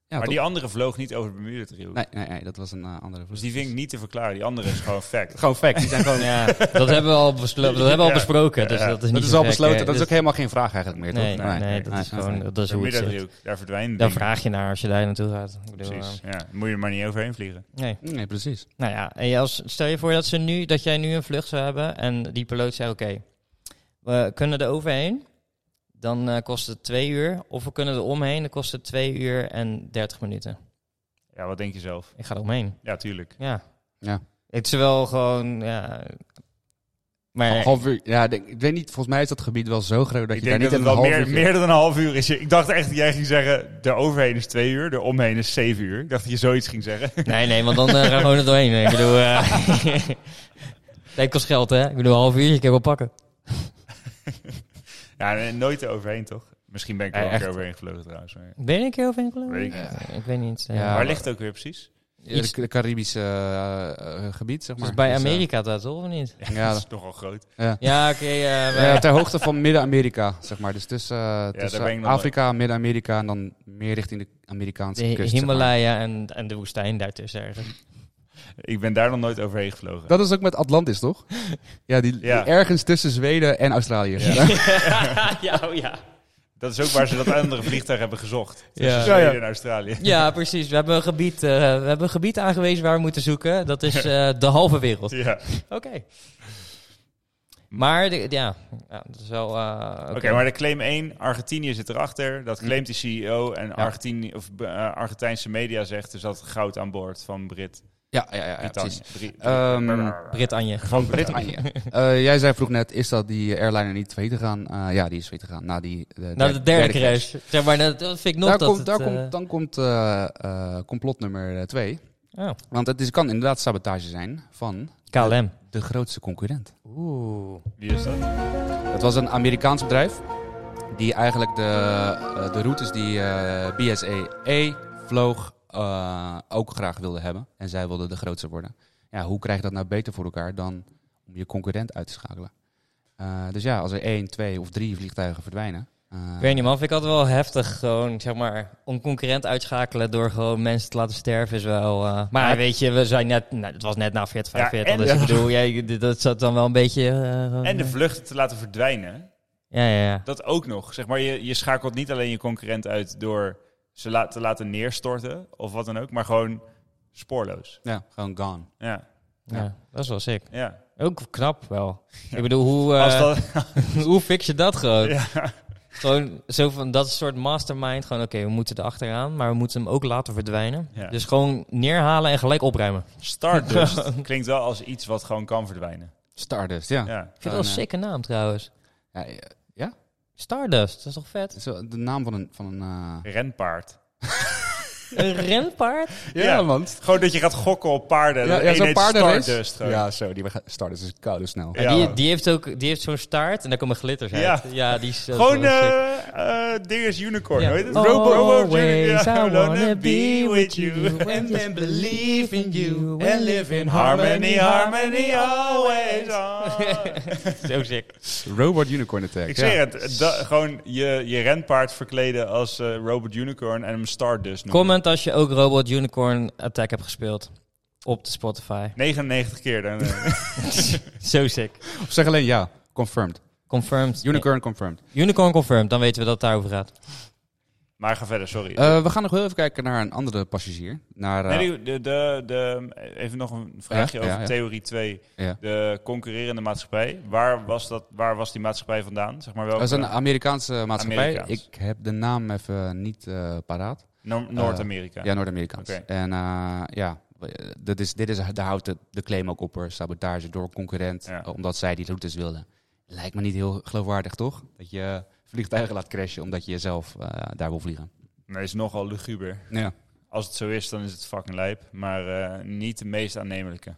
[SPEAKER 2] Maar die andere vloog niet over de Bermuda-driehoek.
[SPEAKER 4] Nee, nee, nee, dat was een eh, andere
[SPEAKER 2] Dus
[SPEAKER 4] vlucht.
[SPEAKER 2] die vind ik niet te verklaren. Die andere is gewoon fact.
[SPEAKER 4] Gewoon fact. Die zijn gewoon...
[SPEAKER 3] Ja, dat hebben we al, beslo- dat hebben we al
[SPEAKER 2] Ja.
[SPEAKER 3] besproken. Dus
[SPEAKER 2] Ja.
[SPEAKER 3] dat is,
[SPEAKER 4] (laughs) Dat
[SPEAKER 3] niet
[SPEAKER 4] is
[SPEAKER 3] zo
[SPEAKER 4] al
[SPEAKER 3] gek,
[SPEAKER 4] besloten.
[SPEAKER 3] eh,
[SPEAKER 4] Dat is ook
[SPEAKER 3] dus-
[SPEAKER 4] helemaal geen vraag eigenlijk meer,
[SPEAKER 3] Nee,
[SPEAKER 4] toch?
[SPEAKER 3] nee, nee, dat is gewoon dat is hoe het zit.
[SPEAKER 2] Bermuda-driehoek, daar verdwijnt
[SPEAKER 3] Daar
[SPEAKER 2] het
[SPEAKER 3] vraag je naar als je daar naartoe gaat. Ik bedoel,
[SPEAKER 2] Precies.
[SPEAKER 3] eh,
[SPEAKER 2] Ja, dan moet je er maar niet overheen vliegen.
[SPEAKER 3] nee.
[SPEAKER 4] Nee, precies.
[SPEAKER 3] Nou ja, en je als, stel je voor dat, ze nu, dat jij nu een vlucht zou hebben en die piloot zei: Oké, we kunnen er overheen, dan eh, kost het twee uur. Of we kunnen er omheen, dan kost het twee uur en dertig minuten.
[SPEAKER 2] Ja, wat denk je zelf?
[SPEAKER 3] Ik ga er omheen.
[SPEAKER 2] Ja, tuurlijk.
[SPEAKER 3] Ja.
[SPEAKER 4] Ja.
[SPEAKER 3] Het is wel gewoon. Ja, maar
[SPEAKER 4] Half uur, ja, ik denk- ik weet niet, volgens mij is dat gebied wel zo groot dat
[SPEAKER 2] ik
[SPEAKER 4] je daar
[SPEAKER 2] denk
[SPEAKER 4] niet
[SPEAKER 2] dat
[SPEAKER 4] in
[SPEAKER 2] het
[SPEAKER 4] een
[SPEAKER 2] wel
[SPEAKER 4] half
[SPEAKER 2] meer,
[SPEAKER 4] uur...
[SPEAKER 2] meer dan een half uur is. Ik dacht echt dat jij ging zeggen, de overheen is twee uur, de omheen is zeven uur. Ik dacht dat je zoiets ging zeggen.
[SPEAKER 3] Nee, nee, want dan eh, gaan we gewoon er doorheen. Ik bedoel, eh (laughs) nee, het kost geld, hè? Ik bedoel, een half uurtje, ik heb wel pakken.
[SPEAKER 2] (laughs) Ja, en nooit er overheen, toch? Misschien ben ik er
[SPEAKER 3] Ja,
[SPEAKER 2] wel een keer
[SPEAKER 3] echt.
[SPEAKER 2] overheen gevlogen trouwens. Maar...
[SPEAKER 3] Ben je een keer over in Colombia?
[SPEAKER 2] Weet ik
[SPEAKER 3] Eh, Ik weet niet. eh.
[SPEAKER 4] Ja,
[SPEAKER 2] Waar
[SPEAKER 4] maar-
[SPEAKER 2] ligt het ook weer precies?
[SPEAKER 4] Ja,
[SPEAKER 3] Iets-
[SPEAKER 4] de- de Caribische eh, eh, gebied, zeg
[SPEAKER 3] Het
[SPEAKER 4] maar.
[SPEAKER 3] is bij
[SPEAKER 4] Dus, eh,
[SPEAKER 3] Amerika dat, toch? Of niet?
[SPEAKER 2] Ja,
[SPEAKER 4] Ja,
[SPEAKER 2] (laughs) dat is nogal groot.
[SPEAKER 3] (laughs) Ja, oké. eh, maar-
[SPEAKER 4] ja, ter hoogte van Midden-Amerika, zeg maar. Dus tussen, eh, tussen
[SPEAKER 2] ben ik nog
[SPEAKER 4] Afrika, Midden-Amerika en dan meer richting de Amerikaanse
[SPEAKER 3] de
[SPEAKER 4] kust. zeg maar.
[SPEAKER 3] Himalaya en, en de woestijn daartussen ergens. (laughs)
[SPEAKER 2] Ik ben daar nog nooit overheen gevlogen.
[SPEAKER 4] Dat is ook met Atlantis,
[SPEAKER 3] (laughs)
[SPEAKER 4] toch? Ja, die, die
[SPEAKER 2] Ja.
[SPEAKER 4] ergens tussen Zweden en Australië. (laughs) Ja.
[SPEAKER 3] ja, oh ja.
[SPEAKER 2] Dat is ook waar ze dat andere vliegtuig hebben (laughs) gezocht. Tussen
[SPEAKER 3] Ja.
[SPEAKER 2] Zweden
[SPEAKER 4] Ja, ja.
[SPEAKER 2] en Australië. (laughs)
[SPEAKER 3] Ja, precies. We hebben, een gebied, eh, we hebben een gebied aangewezen waar we moeten zoeken. Dat (laughs) is eh, de halve wereld.
[SPEAKER 2] Ja. Oké,
[SPEAKER 3] Oké. Maar, de- ja. ja, dat is wel... eh, Oké,
[SPEAKER 2] maar de claim 1, Argentinië zit erachter. Dat claimt de CEO en Argentini, of, eh, Argentijnse media zegt dus dat goud aan boord van Brit.
[SPEAKER 4] ja, ja, ja, ja,
[SPEAKER 2] Britannia.
[SPEAKER 4] precies.
[SPEAKER 2] Bri-
[SPEAKER 4] Ehm,
[SPEAKER 3] Brit-Anje.
[SPEAKER 4] Van Brit-Anje. (laughs) Eh, jij zei vroeg net, is dat die airliner niet failliet gegaan? Eh, ja, die is failliet gegaan. Na, die, de,
[SPEAKER 3] Nou, de derde
[SPEAKER 4] crash.
[SPEAKER 3] crash. Zeg maar, dat, dat vind ik nog
[SPEAKER 4] Daar
[SPEAKER 3] dat
[SPEAKER 4] komt,
[SPEAKER 3] het,
[SPEAKER 4] daar
[SPEAKER 3] eh,
[SPEAKER 4] komt, dan komt eh, eh, complot nummer 2.
[SPEAKER 3] oh,
[SPEAKER 4] Want het is, kan inderdaad sabotage zijn van
[SPEAKER 3] KLM.
[SPEAKER 4] de grootste concurrent.
[SPEAKER 3] Oeh.
[SPEAKER 2] Wie is dat?
[SPEAKER 4] Het was een Amerikaans bedrijf die eigenlijk de, eh, de routes die eh BSAA vloog eh, ook graag wilde hebben. En zij wilden de grootste worden. Ja, hoe krijg je dat nou beter voor elkaar dan om je concurrent uit te schakelen? Eh, dus ja, als er één, twee of drie vliegtuigen verdwijnen. eh,
[SPEAKER 3] Ik weet niet, man. Vind ik altijd wel heftig. Gewoon, zeg maar, om concurrent uitschakelen door gewoon mensen te laten sterven is wel... eh, maar
[SPEAKER 4] Ja.
[SPEAKER 3] weet je, we zijn net... Nou, het was net na 40,
[SPEAKER 2] Ja,
[SPEAKER 3] 45.
[SPEAKER 2] en-
[SPEAKER 3] dus ik bedoel, jij, dit- dat zat dan wel een beetje... eh, gewoon-
[SPEAKER 2] En de vluchten te laten verdwijnen.
[SPEAKER 3] Ja, ja, ja.
[SPEAKER 2] Dat ook nog. Zeg maar, je, je schakelt niet alleen je concurrent uit door ze la- te laten neerstorten of wat dan ook, maar gewoon spoorloos.
[SPEAKER 4] Ja, gewoon gone.
[SPEAKER 2] Ja,
[SPEAKER 3] ja. dat is wel sick.
[SPEAKER 2] ja.
[SPEAKER 3] Ook knap wel. Ik bedoel, hoe, eh,
[SPEAKER 2] Als dat, (laughs)
[SPEAKER 3] (laughs) hoe fix je dat gewoon?
[SPEAKER 2] ja.
[SPEAKER 3] Gewoon zo van, dat is een soort mastermind. Gewoon, oké, we moeten er achteraan, maar we moeten hem ook laten verdwijnen.
[SPEAKER 2] Ja.
[SPEAKER 3] Dus gewoon neerhalen en gelijk opruimen. (laughs)
[SPEAKER 2] Stardust klinkt wel als iets wat gewoon kan verdwijnen.
[SPEAKER 4] Stardust, ja. ja.
[SPEAKER 2] Ja.
[SPEAKER 3] Ik vind het wel een
[SPEAKER 4] Gewoon,
[SPEAKER 3] sikke naam trouwens.
[SPEAKER 4] eh,
[SPEAKER 3] Stardust, dat is toch vet?
[SPEAKER 4] zo de naam van een... Van een eh,
[SPEAKER 2] Renpaard.
[SPEAKER 3] Een renpaard?
[SPEAKER 2] Ja.
[SPEAKER 4] man.
[SPEAKER 2] Gewoon dat je gaat gokken op paarden.
[SPEAKER 4] Ja,
[SPEAKER 2] Ja,
[SPEAKER 4] ja zo'n
[SPEAKER 2] Stardust.
[SPEAKER 4] paardenrace.
[SPEAKER 2] gewoon.
[SPEAKER 4] Ja, zo. Die Stardust is koude snel.
[SPEAKER 2] Ja.
[SPEAKER 3] Ja, die, die heeft ook die heeft zo'n staart en daar komen glitters uit. Ja,
[SPEAKER 2] Ja.
[SPEAKER 3] die is dat is
[SPEAKER 2] Gewoon
[SPEAKER 3] wel sick.
[SPEAKER 2] eh eh ding is unicorn,
[SPEAKER 3] Ja.
[SPEAKER 2] hoe heet het?
[SPEAKER 3] Always
[SPEAKER 2] Robo, robo,
[SPEAKER 3] I
[SPEAKER 2] ja,
[SPEAKER 3] wanna be with you
[SPEAKER 2] and then believe in you
[SPEAKER 3] and
[SPEAKER 2] and live in harmony, harmony always
[SPEAKER 3] (laughs)
[SPEAKER 2] on.
[SPEAKER 3] (laughs) Zo sick.
[SPEAKER 4] Robot Unicorn Attack.
[SPEAKER 2] Ik
[SPEAKER 4] ja.
[SPEAKER 2] zeg het, da- gewoon je, je renpaard verkleden als eh, Robot Unicorn en hem Stardust noemen.
[SPEAKER 3] Comment als je ook Robot Unicorn Attack hebt gespeeld. Op de Spotify.
[SPEAKER 2] 99 keer. Dan,
[SPEAKER 4] (laughs)
[SPEAKER 2] eh.
[SPEAKER 3] Zo sick.
[SPEAKER 4] Of zeg alleen ja. Confirmed.
[SPEAKER 3] Confirmed.
[SPEAKER 4] (laughs) Unicorn confirmed.
[SPEAKER 3] Nee, Unicorn confirmed, dan weten we dat het daarover gaat.
[SPEAKER 2] maar ga verder, sorry.
[SPEAKER 4] Eh, we gaan nog heel even kijken naar een andere passagier. Naar, eh,
[SPEAKER 2] Nee, de, de, de, even nog een vraagje
[SPEAKER 4] Ja,
[SPEAKER 2] over
[SPEAKER 4] ja, ja.
[SPEAKER 2] theorie 2.
[SPEAKER 4] eh, ja.
[SPEAKER 2] De concurrerende maatschappij. Waar was, dat, waar was die maatschappij vandaan? Zeg maar
[SPEAKER 4] Dat is
[SPEAKER 2] welke?
[SPEAKER 4] een Amerikaanse maatschappij.
[SPEAKER 2] Amerikaans.
[SPEAKER 4] Ik heb de naam even niet eh, paraat.
[SPEAKER 2] Noor- Noord-Amerika.
[SPEAKER 4] Eh, Ja, Noord-Amerikaans.
[SPEAKER 2] Oké.
[SPEAKER 4] En eh, ja, eh, dat is, dit is, daar houdt de, de claim ook op. hoor. Sabotage door concurrent.
[SPEAKER 2] Ja.
[SPEAKER 4] eh, Omdat zij die routes wilden. Lijkt me niet heel geloofwaardig, toch? Dat je vliegtuigen laat crashen omdat je zelf eh, daar wil vliegen.
[SPEAKER 2] Nee, is nogal luguber.
[SPEAKER 4] Ja.
[SPEAKER 2] Als het zo is, dan is het fucking lijp. Maar eh, niet de meest aannemelijke.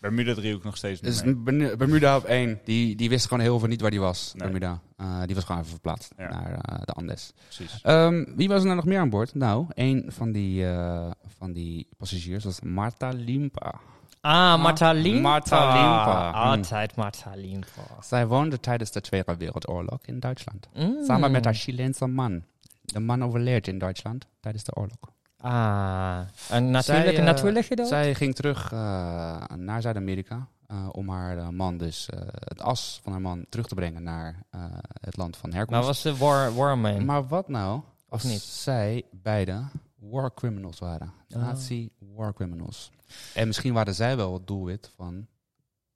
[SPEAKER 2] Bermuda driehoek nog steeds
[SPEAKER 4] Dus
[SPEAKER 2] niet mee.
[SPEAKER 4] Bernu- Bermuda op één, die, die wist gewoon heel veel niet waar die was,
[SPEAKER 2] Nee.
[SPEAKER 4] Bermuda. Eh, die was gewoon even verplaatst
[SPEAKER 2] Ja.
[SPEAKER 4] naar eh, de Andes.
[SPEAKER 2] Precies.
[SPEAKER 4] Ehm, wie was er nou nog meer aan boord? Nou, een van die, eh, van die passagiers was Marta Limpa.
[SPEAKER 3] Ah, Marta Limpa.
[SPEAKER 4] Marta Limpa.
[SPEAKER 3] Altijd Marta Limpa.
[SPEAKER 4] Zij woonde tijdens de Tweede Wereldoorlog in Duitsland.
[SPEAKER 3] Hmm. Mm.
[SPEAKER 4] Samen met haar Chileense man. De man overleed in Duitsland tijdens de oorlog.
[SPEAKER 3] Ah, een natuurlijke,
[SPEAKER 4] Zij, eh,
[SPEAKER 3] natuurlijke dood?
[SPEAKER 4] Zij ging terug eh, naar Zuid-Amerika eh, om haar eh, man, dus eh, het as van haar man, terug te brengen naar eh, het land van herkomst.
[SPEAKER 3] nou was ze war, warman.
[SPEAKER 4] Maar wat nou als
[SPEAKER 3] niet?
[SPEAKER 4] zij beide war criminals waren?
[SPEAKER 3] Oh.
[SPEAKER 4] Nazi war criminals. En misschien waren zij wel het doelwit van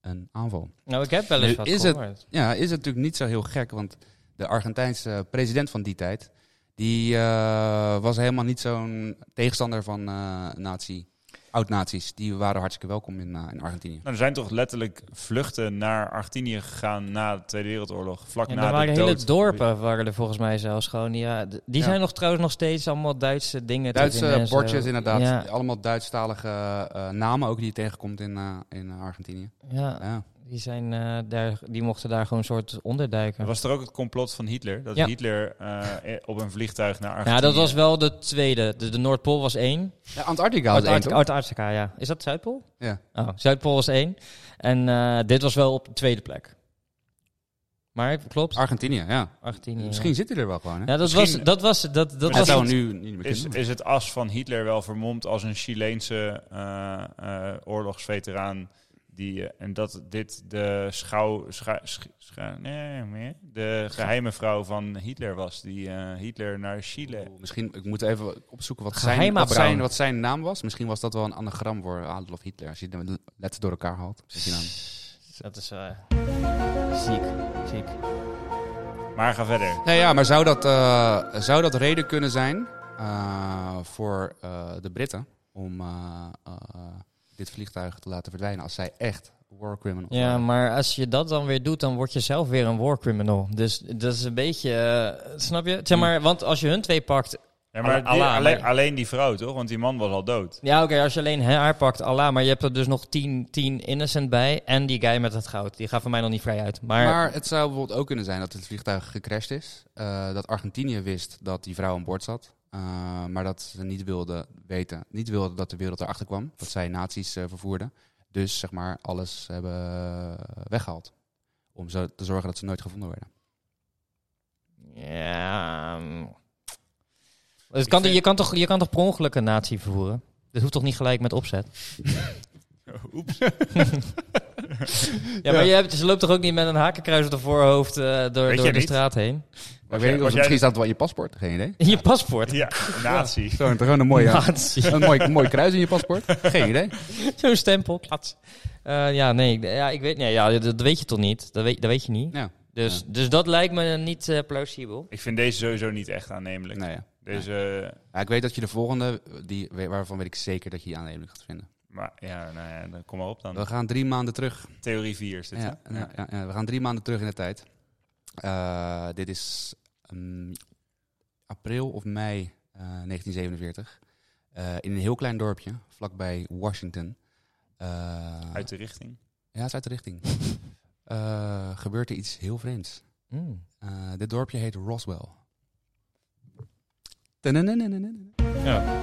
[SPEAKER 4] een aanval.
[SPEAKER 3] nou, ik heb wel eens
[SPEAKER 4] Nu
[SPEAKER 3] wat
[SPEAKER 4] is het-
[SPEAKER 3] gehoord.
[SPEAKER 4] Ja, is het natuurlijk niet zo heel gek, want de Argentijnse president van die tijd, die eh, was helemaal niet zo'n tegenstander van eh nazi, oud-nazi's. Die waren hartstikke welkom in, eh, in Argentinië.
[SPEAKER 2] Nou, er zijn toch letterlijk vluchten naar Argentinië gegaan na de Tweede Wereldoorlog. Vlak
[SPEAKER 3] Ja,
[SPEAKER 2] na
[SPEAKER 3] er waren
[SPEAKER 2] de dood.
[SPEAKER 3] hele dorpen, waren er volgens mij zelfs gewoon. Ja, d- die
[SPEAKER 4] Ja.
[SPEAKER 3] zijn nog trouwens nog steeds allemaal Duitse dingen. te vinden
[SPEAKER 4] Duitse
[SPEAKER 3] en zo.
[SPEAKER 4] bordjes inderdaad,
[SPEAKER 3] eh, Ja,
[SPEAKER 4] allemaal Duitsstalige eh, namen ook die je tegenkomt in, eh, in Argentinië.
[SPEAKER 3] ja,
[SPEAKER 4] Ja.
[SPEAKER 3] die, zijn, eh, daar, die mochten daar gewoon een soort onderduiken.
[SPEAKER 2] Er was er ook het complot van Hitler. Dat
[SPEAKER 3] Ja.
[SPEAKER 2] Hitler eh, eh, op een vliegtuig naar Argentinië...
[SPEAKER 3] ja, dat was wel de tweede. De, de Noordpool was één.
[SPEAKER 4] eh, Ja, Antarctica was één,
[SPEAKER 3] Oud-Arctica,
[SPEAKER 4] toch?
[SPEAKER 3] Oud-Arctica, ja. Is dat Zuidpool?
[SPEAKER 4] Ja.
[SPEAKER 3] Oh, Zuidpool was één. En eh, dit was wel op de tweede plek. Maar klopt,
[SPEAKER 4] Argentinië, ja.
[SPEAKER 3] Argentinië. ja.
[SPEAKER 4] Ah, Misschien zit hij er wel gewoon, hè?
[SPEAKER 3] Ja, dat was...
[SPEAKER 2] Misschien-
[SPEAKER 3] Dat was, dat, dat
[SPEAKER 4] dat
[SPEAKER 3] was
[SPEAKER 4] zou nu niet meer
[SPEAKER 2] Is,
[SPEAKER 4] kunnen.
[SPEAKER 2] is het as van Hitler wel vermomd als een Chileense eh, eh, oorlogsveteraan? Die, eh, en dat dit de schouw... scha- sch- scha- nee, meer, de geheime vrouw van Hitler was. Die eh, Hitler naar Chile...
[SPEAKER 4] Oeh, Misschien, ik moet even opzoeken wat zijn,
[SPEAKER 3] Geheima
[SPEAKER 4] wat, zijn,
[SPEAKER 3] Brown.
[SPEAKER 4] wat zijn naam was. Misschien was dat wel een anagram voor Adolf Hitler. Als je de letters door elkaar haalt. Is die dan-
[SPEAKER 3] Dat is eh, ziek, ziek.
[SPEAKER 2] Maar ga verder.
[SPEAKER 4] Nee, Nou ja, maar zou dat, eh, zou dat reden kunnen zijn eh, voor eh, de Britten om eh, eh, dit vliegtuig te laten verdwijnen als zij echt war criminals
[SPEAKER 3] Ja,
[SPEAKER 4] waren?
[SPEAKER 3] maar als je dat dan weer doet, dan word je zelf weer een war criminal. Dus dat is een beetje, eh, snap je? Zeg maar, want als je hun twee pakt,
[SPEAKER 2] Ja, maar
[SPEAKER 3] Allah,
[SPEAKER 2] die-
[SPEAKER 3] Allah,
[SPEAKER 2] alleen,
[SPEAKER 3] maar-
[SPEAKER 2] alleen die vrouw, toch? Want die man was al dood.
[SPEAKER 3] ja oké, als je alleen haar pakt, Allah, maar je hebt er dus nog 10 10 innocent bij en die guy met het goud. Die gaat van mij nog niet vrij uit. Maar,
[SPEAKER 4] Maar het zou bijvoorbeeld ook kunnen zijn dat het vliegtuig gecrashed is. eh, dat Argentinië wist dat die vrouw aan boord zat. eh, maar dat ze niet wilden weten, niet wilden dat de wereld erachter kwam. Dat zij nazi's eh, vervoerden. Dus zeg maar alles hebben eh, weggehaald. Om zo te zorgen dat ze nooit gevonden werden.
[SPEAKER 3] ja, mm. het
[SPEAKER 2] Ik
[SPEAKER 3] kan,
[SPEAKER 2] vind-
[SPEAKER 3] je, kan toch, je kan toch per ongeluk een natie vervoeren? Dit hoeft toch niet gelijk met opzet?
[SPEAKER 2] Oeps.
[SPEAKER 3] Ja, maar je hebt, ze loopt toch ook niet met een hakenkruis op de voorhoofd eh, door,
[SPEAKER 2] Weet
[SPEAKER 3] door
[SPEAKER 2] je
[SPEAKER 3] de
[SPEAKER 2] niet?
[SPEAKER 3] straat heen?
[SPEAKER 4] Maar ik
[SPEAKER 2] jij-
[SPEAKER 4] weet niet
[SPEAKER 2] was
[SPEAKER 4] of
[SPEAKER 2] jij-
[SPEAKER 4] misschien staat het wel in je paspoort. Geen idee.
[SPEAKER 3] In (laughs) je paspoort?
[SPEAKER 2] Ja, een nazi.
[SPEAKER 4] Zo,
[SPEAKER 2] (laughs)
[SPEAKER 4] gewoon een mooie...
[SPEAKER 3] Natie.
[SPEAKER 4] Een mooi, mooi kruis in je paspoort? Geen idee.
[SPEAKER 3] (laughs) Zo'n stempel. Eh, ja, nee, ik- ja, ik weet, nee ja, dat, dat weet je toch niet? Dat weet, dat weet je niet.
[SPEAKER 4] Ja.
[SPEAKER 3] Dus, dus dat lijkt me niet eh, plausibel.
[SPEAKER 2] Ik vind deze sowieso niet echt aannemelijk.
[SPEAKER 4] Nou ja.
[SPEAKER 2] Deze... eh,
[SPEAKER 4] Ja, ik weet dat je de volgende, die, waarvan weet ik zeker dat je die aannemelijk gaat vinden.
[SPEAKER 2] maar ja, nou ja, dan kom maar op
[SPEAKER 4] We
[SPEAKER 2] dan.
[SPEAKER 4] gaan drie maanden terug
[SPEAKER 2] Theorie 4 is dit,
[SPEAKER 4] Ja,
[SPEAKER 2] hè?
[SPEAKER 4] ja, ja, ja. we gaan drie maanden terug in de tijd. Eh, dit is mm, april of mei eh, 1947. Eh, in een heel klein dorpje, vlakbij Washington. Eh,
[SPEAKER 2] Uit de richting.
[SPEAKER 4] Ja, het is uit de richting. (laughs) Eh, gebeurt er iets heel vreemds. Eh, dit dorpje heet Roswell. Tadadadadadada.
[SPEAKER 2] Ja.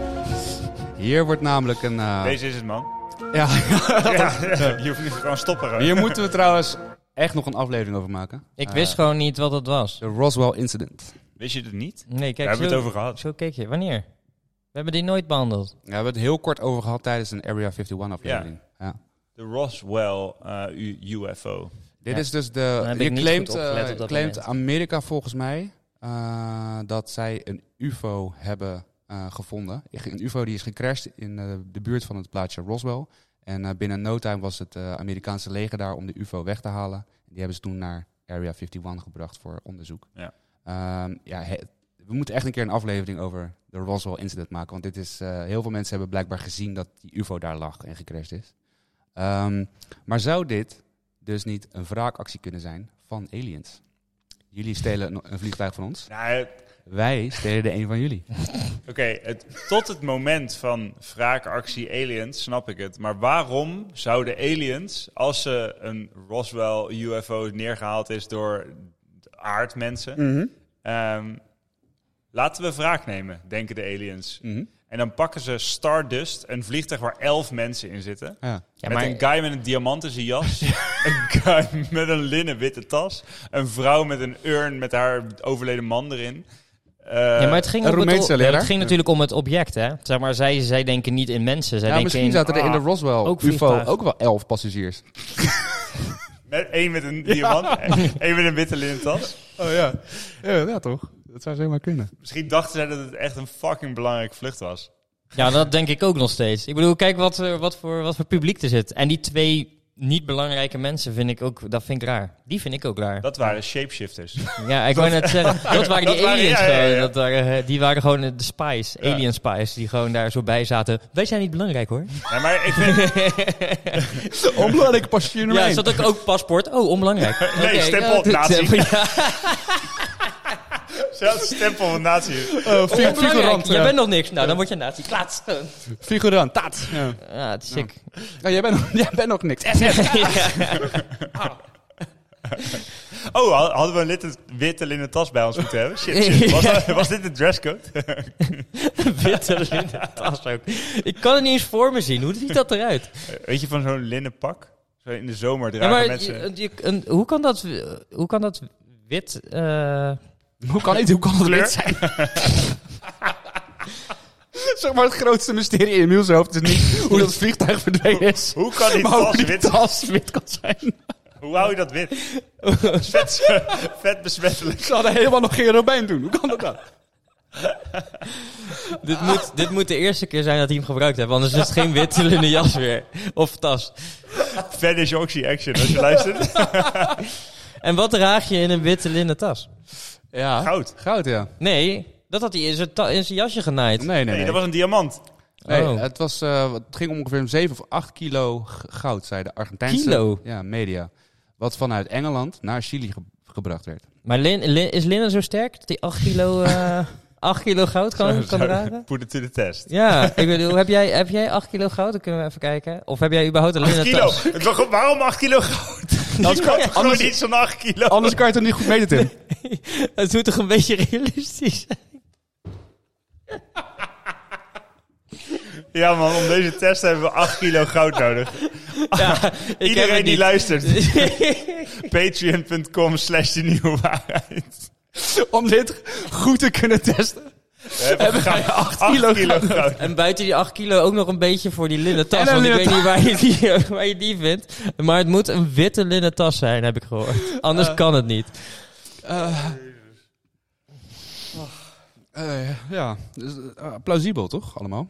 [SPEAKER 4] Hier wordt namelijk een... eh,
[SPEAKER 2] Deze is het, (laughs) man.
[SPEAKER 4] ja, (laughs)
[SPEAKER 2] (laughs) Je hoeft nu gewoon stoppen. gewoon.
[SPEAKER 4] hier moeten we trouwens echt nog een aflevering over maken.
[SPEAKER 3] Ik
[SPEAKER 4] Eh,
[SPEAKER 3] wist gewoon niet wat dat was.
[SPEAKER 4] De Roswell Incident.
[SPEAKER 2] Wist je het niet?
[SPEAKER 3] Nee,
[SPEAKER 2] Daar
[SPEAKER 3] kijk,
[SPEAKER 2] hebben we
[SPEAKER 3] zo,
[SPEAKER 2] het over gehad.
[SPEAKER 3] zo keek je. Wanneer? We hebben die nooit behandeld.
[SPEAKER 4] Ja, we hebben het heel kort over gehad tijdens een Area 51 aflevering. Ja.
[SPEAKER 2] De Roswell eh, U- UFO.
[SPEAKER 4] Dit
[SPEAKER 3] Ja.
[SPEAKER 4] is dus de.
[SPEAKER 3] heb ik
[SPEAKER 4] Je
[SPEAKER 3] niet
[SPEAKER 4] claimt,
[SPEAKER 3] goed opgelet
[SPEAKER 4] eh,
[SPEAKER 3] op dat
[SPEAKER 4] claimt
[SPEAKER 3] moment.
[SPEAKER 4] Amerika volgens mij eh, dat zij een UFO hebben eh, gevonden. Een UFO die is gecrashed in eh, de buurt van het plaatsje Roswell. En eh, binnen no time was het eh, Amerikaanse leger daar om de UFO weg te halen. Die hebben ze toen naar Area 51 gebracht voor onderzoek.
[SPEAKER 2] Ja.
[SPEAKER 4] Ehm, ja, he- we moeten echt een keer een aflevering over de Roswell incident maken. Want dit is, eh, heel veel mensen hebben blijkbaar gezien dat die UFO daar lag en gecrashed is. Ehm, maar zou dit dus niet een wraakactie kunnen zijn van aliens? Jullie stelen een, een vliegtuig van ons.
[SPEAKER 2] Nou,
[SPEAKER 4] Wij stelen de een van jullie.
[SPEAKER 2] Oké, het- tot het moment van wraakactie aliens snap ik het. Maar waarom zouden aliens, als ze een Roswell UFO neergehaald is door aardmensen, ehm, laten we wraak nemen, denken de aliens. En dan pakken ze Stardust, een vliegtuig waar elf mensen in zitten.
[SPEAKER 4] Ja.
[SPEAKER 3] Ja,
[SPEAKER 2] met
[SPEAKER 3] maar-
[SPEAKER 2] een guy met een diamant in zijn jas. (laughs) een guy met een linnen witte tas. Een vrouw met een urn met haar overleden man erin. Eh,
[SPEAKER 3] ja, maar het ging,
[SPEAKER 4] een
[SPEAKER 3] om het,
[SPEAKER 4] Roemeense
[SPEAKER 3] o-
[SPEAKER 4] leraar.
[SPEAKER 3] het ging natuurlijk om het object, hè? Zeg maar, zij, zij denken niet in mensen. Zij
[SPEAKER 4] Ja,
[SPEAKER 3] denken
[SPEAKER 4] misschien
[SPEAKER 3] in,
[SPEAKER 4] zaten er in de
[SPEAKER 3] ah,
[SPEAKER 4] Roswell
[SPEAKER 3] ook
[SPEAKER 4] UFO
[SPEAKER 3] vliegtuig.
[SPEAKER 4] ook wel elf passagiers.
[SPEAKER 2] Met één met een diamant, (laughs) één met een witte linnen tas.
[SPEAKER 4] Oh ja. ja, toch? Dat zou zomaar kunnen.
[SPEAKER 2] Misschien dachten zij dat het echt een fucking belangrijk vlucht was.
[SPEAKER 3] Ja, dat denk ik ook nog steeds. Ik bedoel, kijk wat, eh, wat, voor, wat voor publiek er zit. En die twee niet belangrijke mensen vind ik ook, dat vind ik raar. Die vind ik ook raar.
[SPEAKER 2] Dat waren shapeshifters.
[SPEAKER 3] ja, ik wou
[SPEAKER 2] (laughs)
[SPEAKER 3] net zeggen, dat waren die
[SPEAKER 2] Dat waren-
[SPEAKER 3] aliens
[SPEAKER 2] ja, ja, ja.
[SPEAKER 3] gewoon. Dat waren, eh, die waren gewoon eh, de spies, alien spies, die gewoon daar zo bij zaten. Wij zijn niet
[SPEAKER 2] (laughs)
[SPEAKER 3] belangrijk hoor.
[SPEAKER 2] Nee, maar ik vind,
[SPEAKER 4] (laughs) Onbelangrijk passagier nummer
[SPEAKER 3] Ja,
[SPEAKER 4] één.
[SPEAKER 3] zat ook, ook paspoort. Oh, onbelangrijk.
[SPEAKER 2] (laughs) Nee,
[SPEAKER 3] Oké,
[SPEAKER 2] stempel
[SPEAKER 3] (laughs) ja,
[SPEAKER 2] op, nazi.
[SPEAKER 3] stempel, ja.
[SPEAKER 2] zelfs de stempel van nazi.
[SPEAKER 4] Eh, fi-
[SPEAKER 3] Onbelangrijk,
[SPEAKER 4] figurant.
[SPEAKER 3] jij
[SPEAKER 4] ja.
[SPEAKER 3] bent nog niks. Nou, dan word je nazi. Klaats.
[SPEAKER 4] Figurant, taat. Ja.
[SPEAKER 3] Ja, het is sick.
[SPEAKER 4] Ja, Oh, jij, bent nog, (laughs) jij bent nog niks.
[SPEAKER 3] (laughs) Ja.
[SPEAKER 2] Oh, had- hadden we een litte- witte linnen tas bij ons moeten hebben? Shit, shit. Was, dat- was dit de dresscode?
[SPEAKER 3] Witte linnen tas ook. Ik kan het niet eens voor me zien. Hoe ziet dat eruit?
[SPEAKER 2] Weet je, van zo'n linnen pak? Zo in de zomer
[SPEAKER 3] Ja,
[SPEAKER 2] dragen
[SPEAKER 3] maar
[SPEAKER 2] mensen...
[SPEAKER 3] je- je- een- hoe, kan dat, hoe kan dat wit... eh,
[SPEAKER 4] Hoe kan het, hoe kan het
[SPEAKER 2] Kleur?
[SPEAKER 4] wit zijn? (laughs) zeg maar het grootste mysterie in Miels hoofd is niet hoe dat vliegtuig verdwenen is.
[SPEAKER 2] Hoe kan die
[SPEAKER 4] maar hoe
[SPEAKER 2] tas
[SPEAKER 4] die
[SPEAKER 2] wit
[SPEAKER 4] tas wit kan zijn.
[SPEAKER 2] Hoe hou je dat wit? vet, (laughs) vet besmettelijk.
[SPEAKER 4] Ze hadden helemaal nog geen robijn doen. Hoe kan dat dan?
[SPEAKER 3] dit, moet, dit moet de eerste keer zijn dat hij hem gebruikt heeft. Anders is het geen witte linnen jas weer. Of tas.
[SPEAKER 2] Vanish oxy action, als je luistert.
[SPEAKER 3] En wat draag je in een witte linnen tas?
[SPEAKER 4] Ja.
[SPEAKER 2] Goud.
[SPEAKER 4] Goud, ja.
[SPEAKER 3] Nee, dat had hij in zijn, ta- in zijn jasje genaaid.
[SPEAKER 4] Nee, nee, nee.
[SPEAKER 2] Nee, dat was een diamant.
[SPEAKER 4] Nee,
[SPEAKER 3] Oh.
[SPEAKER 4] het, was, eh, het ging om ongeveer om 7 of 8 kilo g- goud, zei de Argentijnse
[SPEAKER 3] Kilo?
[SPEAKER 4] Ja, media. Wat vanuit Engeland naar Chili ge- gebracht werd.
[SPEAKER 3] Maar lin, lin- is linnen zo sterk dat hij 8 kilo,
[SPEAKER 2] (laughs)
[SPEAKER 3] eh 8 kilo goud kan, kan dragen?
[SPEAKER 2] Put it to the test.
[SPEAKER 3] Ja, ik bedoel, heb jij, heb jij 8 kilo goud? Dan kunnen we even kijken. Of heb jij überhaupt een
[SPEAKER 2] 8
[SPEAKER 3] linnen
[SPEAKER 2] kilo.
[SPEAKER 3] tas?
[SPEAKER 2] Het was- Waarom 8 kilo goud? (laughs) Dat kan toch gewoon niet zo'n 8 kilo.
[SPEAKER 4] Anders kan je het er niet goed meten, Tim.
[SPEAKER 3] (laughs) Het moet toch een beetje realistisch zijn?
[SPEAKER 2] Ja man, om deze test hebben we 8 kilo goud nodig.
[SPEAKER 3] Ja, ik
[SPEAKER 2] Iedereen die (laughs) luistert,
[SPEAKER 3] (laughs) luistert.
[SPEAKER 2] patreon.com slash de nieuwe waarheid.
[SPEAKER 4] (laughs) om dit goed te kunnen testen.
[SPEAKER 2] We hebben goud- 8 kilo, goud.
[SPEAKER 3] en buiten die 8 kilo ook nog een beetje voor die linnen tas.
[SPEAKER 4] En een
[SPEAKER 3] Want ik
[SPEAKER 4] linnen
[SPEAKER 3] weet niet waar je, die, (laughs) waar je die vindt. Maar het moet een witte linnen tas zijn, heb ik gehoord. Anders kan het niet.
[SPEAKER 4] Eh, ja, Dus, eh, plausibel toch, allemaal?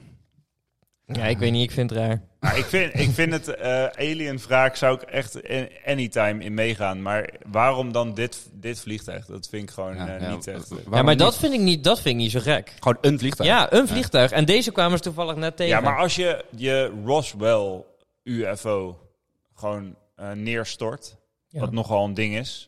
[SPEAKER 3] Ja, ik weet niet, ik vind het raar.
[SPEAKER 2] Maar Nou, ik vind, ik vind het eh alien wraak zou ik echt in- anytime in meegaan. Maar waarom dan dit, dit vliegtuig? Dat vind ik gewoon eh, niet echt... eh.
[SPEAKER 3] Ja, maar dat vind, ik niet, dat vind ik niet zo gek.
[SPEAKER 4] Gewoon een vliegtuig.
[SPEAKER 3] Ja, een vliegtuig. En deze kwamen ze toevallig net tegen.
[SPEAKER 2] Ja, maar als je je Roswell UFO gewoon eh, neerstort,
[SPEAKER 3] Ja.
[SPEAKER 2] wat nogal een ding is,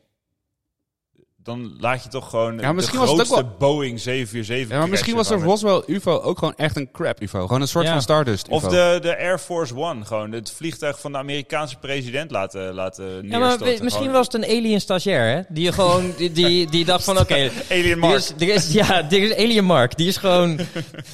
[SPEAKER 2] dan laat je toch gewoon
[SPEAKER 4] Ja, misschien
[SPEAKER 2] de
[SPEAKER 4] was het ook
[SPEAKER 2] grootste Boeing 747
[SPEAKER 4] Ja, maar misschien was de
[SPEAKER 2] crashen van
[SPEAKER 4] Roswell UFO ook gewoon echt een crap UFO. Gewoon een soort
[SPEAKER 3] Ja.
[SPEAKER 4] van Stardust
[SPEAKER 2] het.
[SPEAKER 4] UFO.
[SPEAKER 2] Of de, de Air Force One, gewoon het vliegtuig van de Amerikaanse president laten, laten
[SPEAKER 3] Ja,
[SPEAKER 2] neerstorten.
[SPEAKER 3] maar we- misschien
[SPEAKER 2] Gewoon
[SPEAKER 3] was het een alien stagiair, hè? Die gewoon, die, die, die dacht van, oké,
[SPEAKER 2] (laughs) Alien
[SPEAKER 3] er
[SPEAKER 2] Mark.
[SPEAKER 3] is, er is, ja, er is alien Mark. Die is gewoon,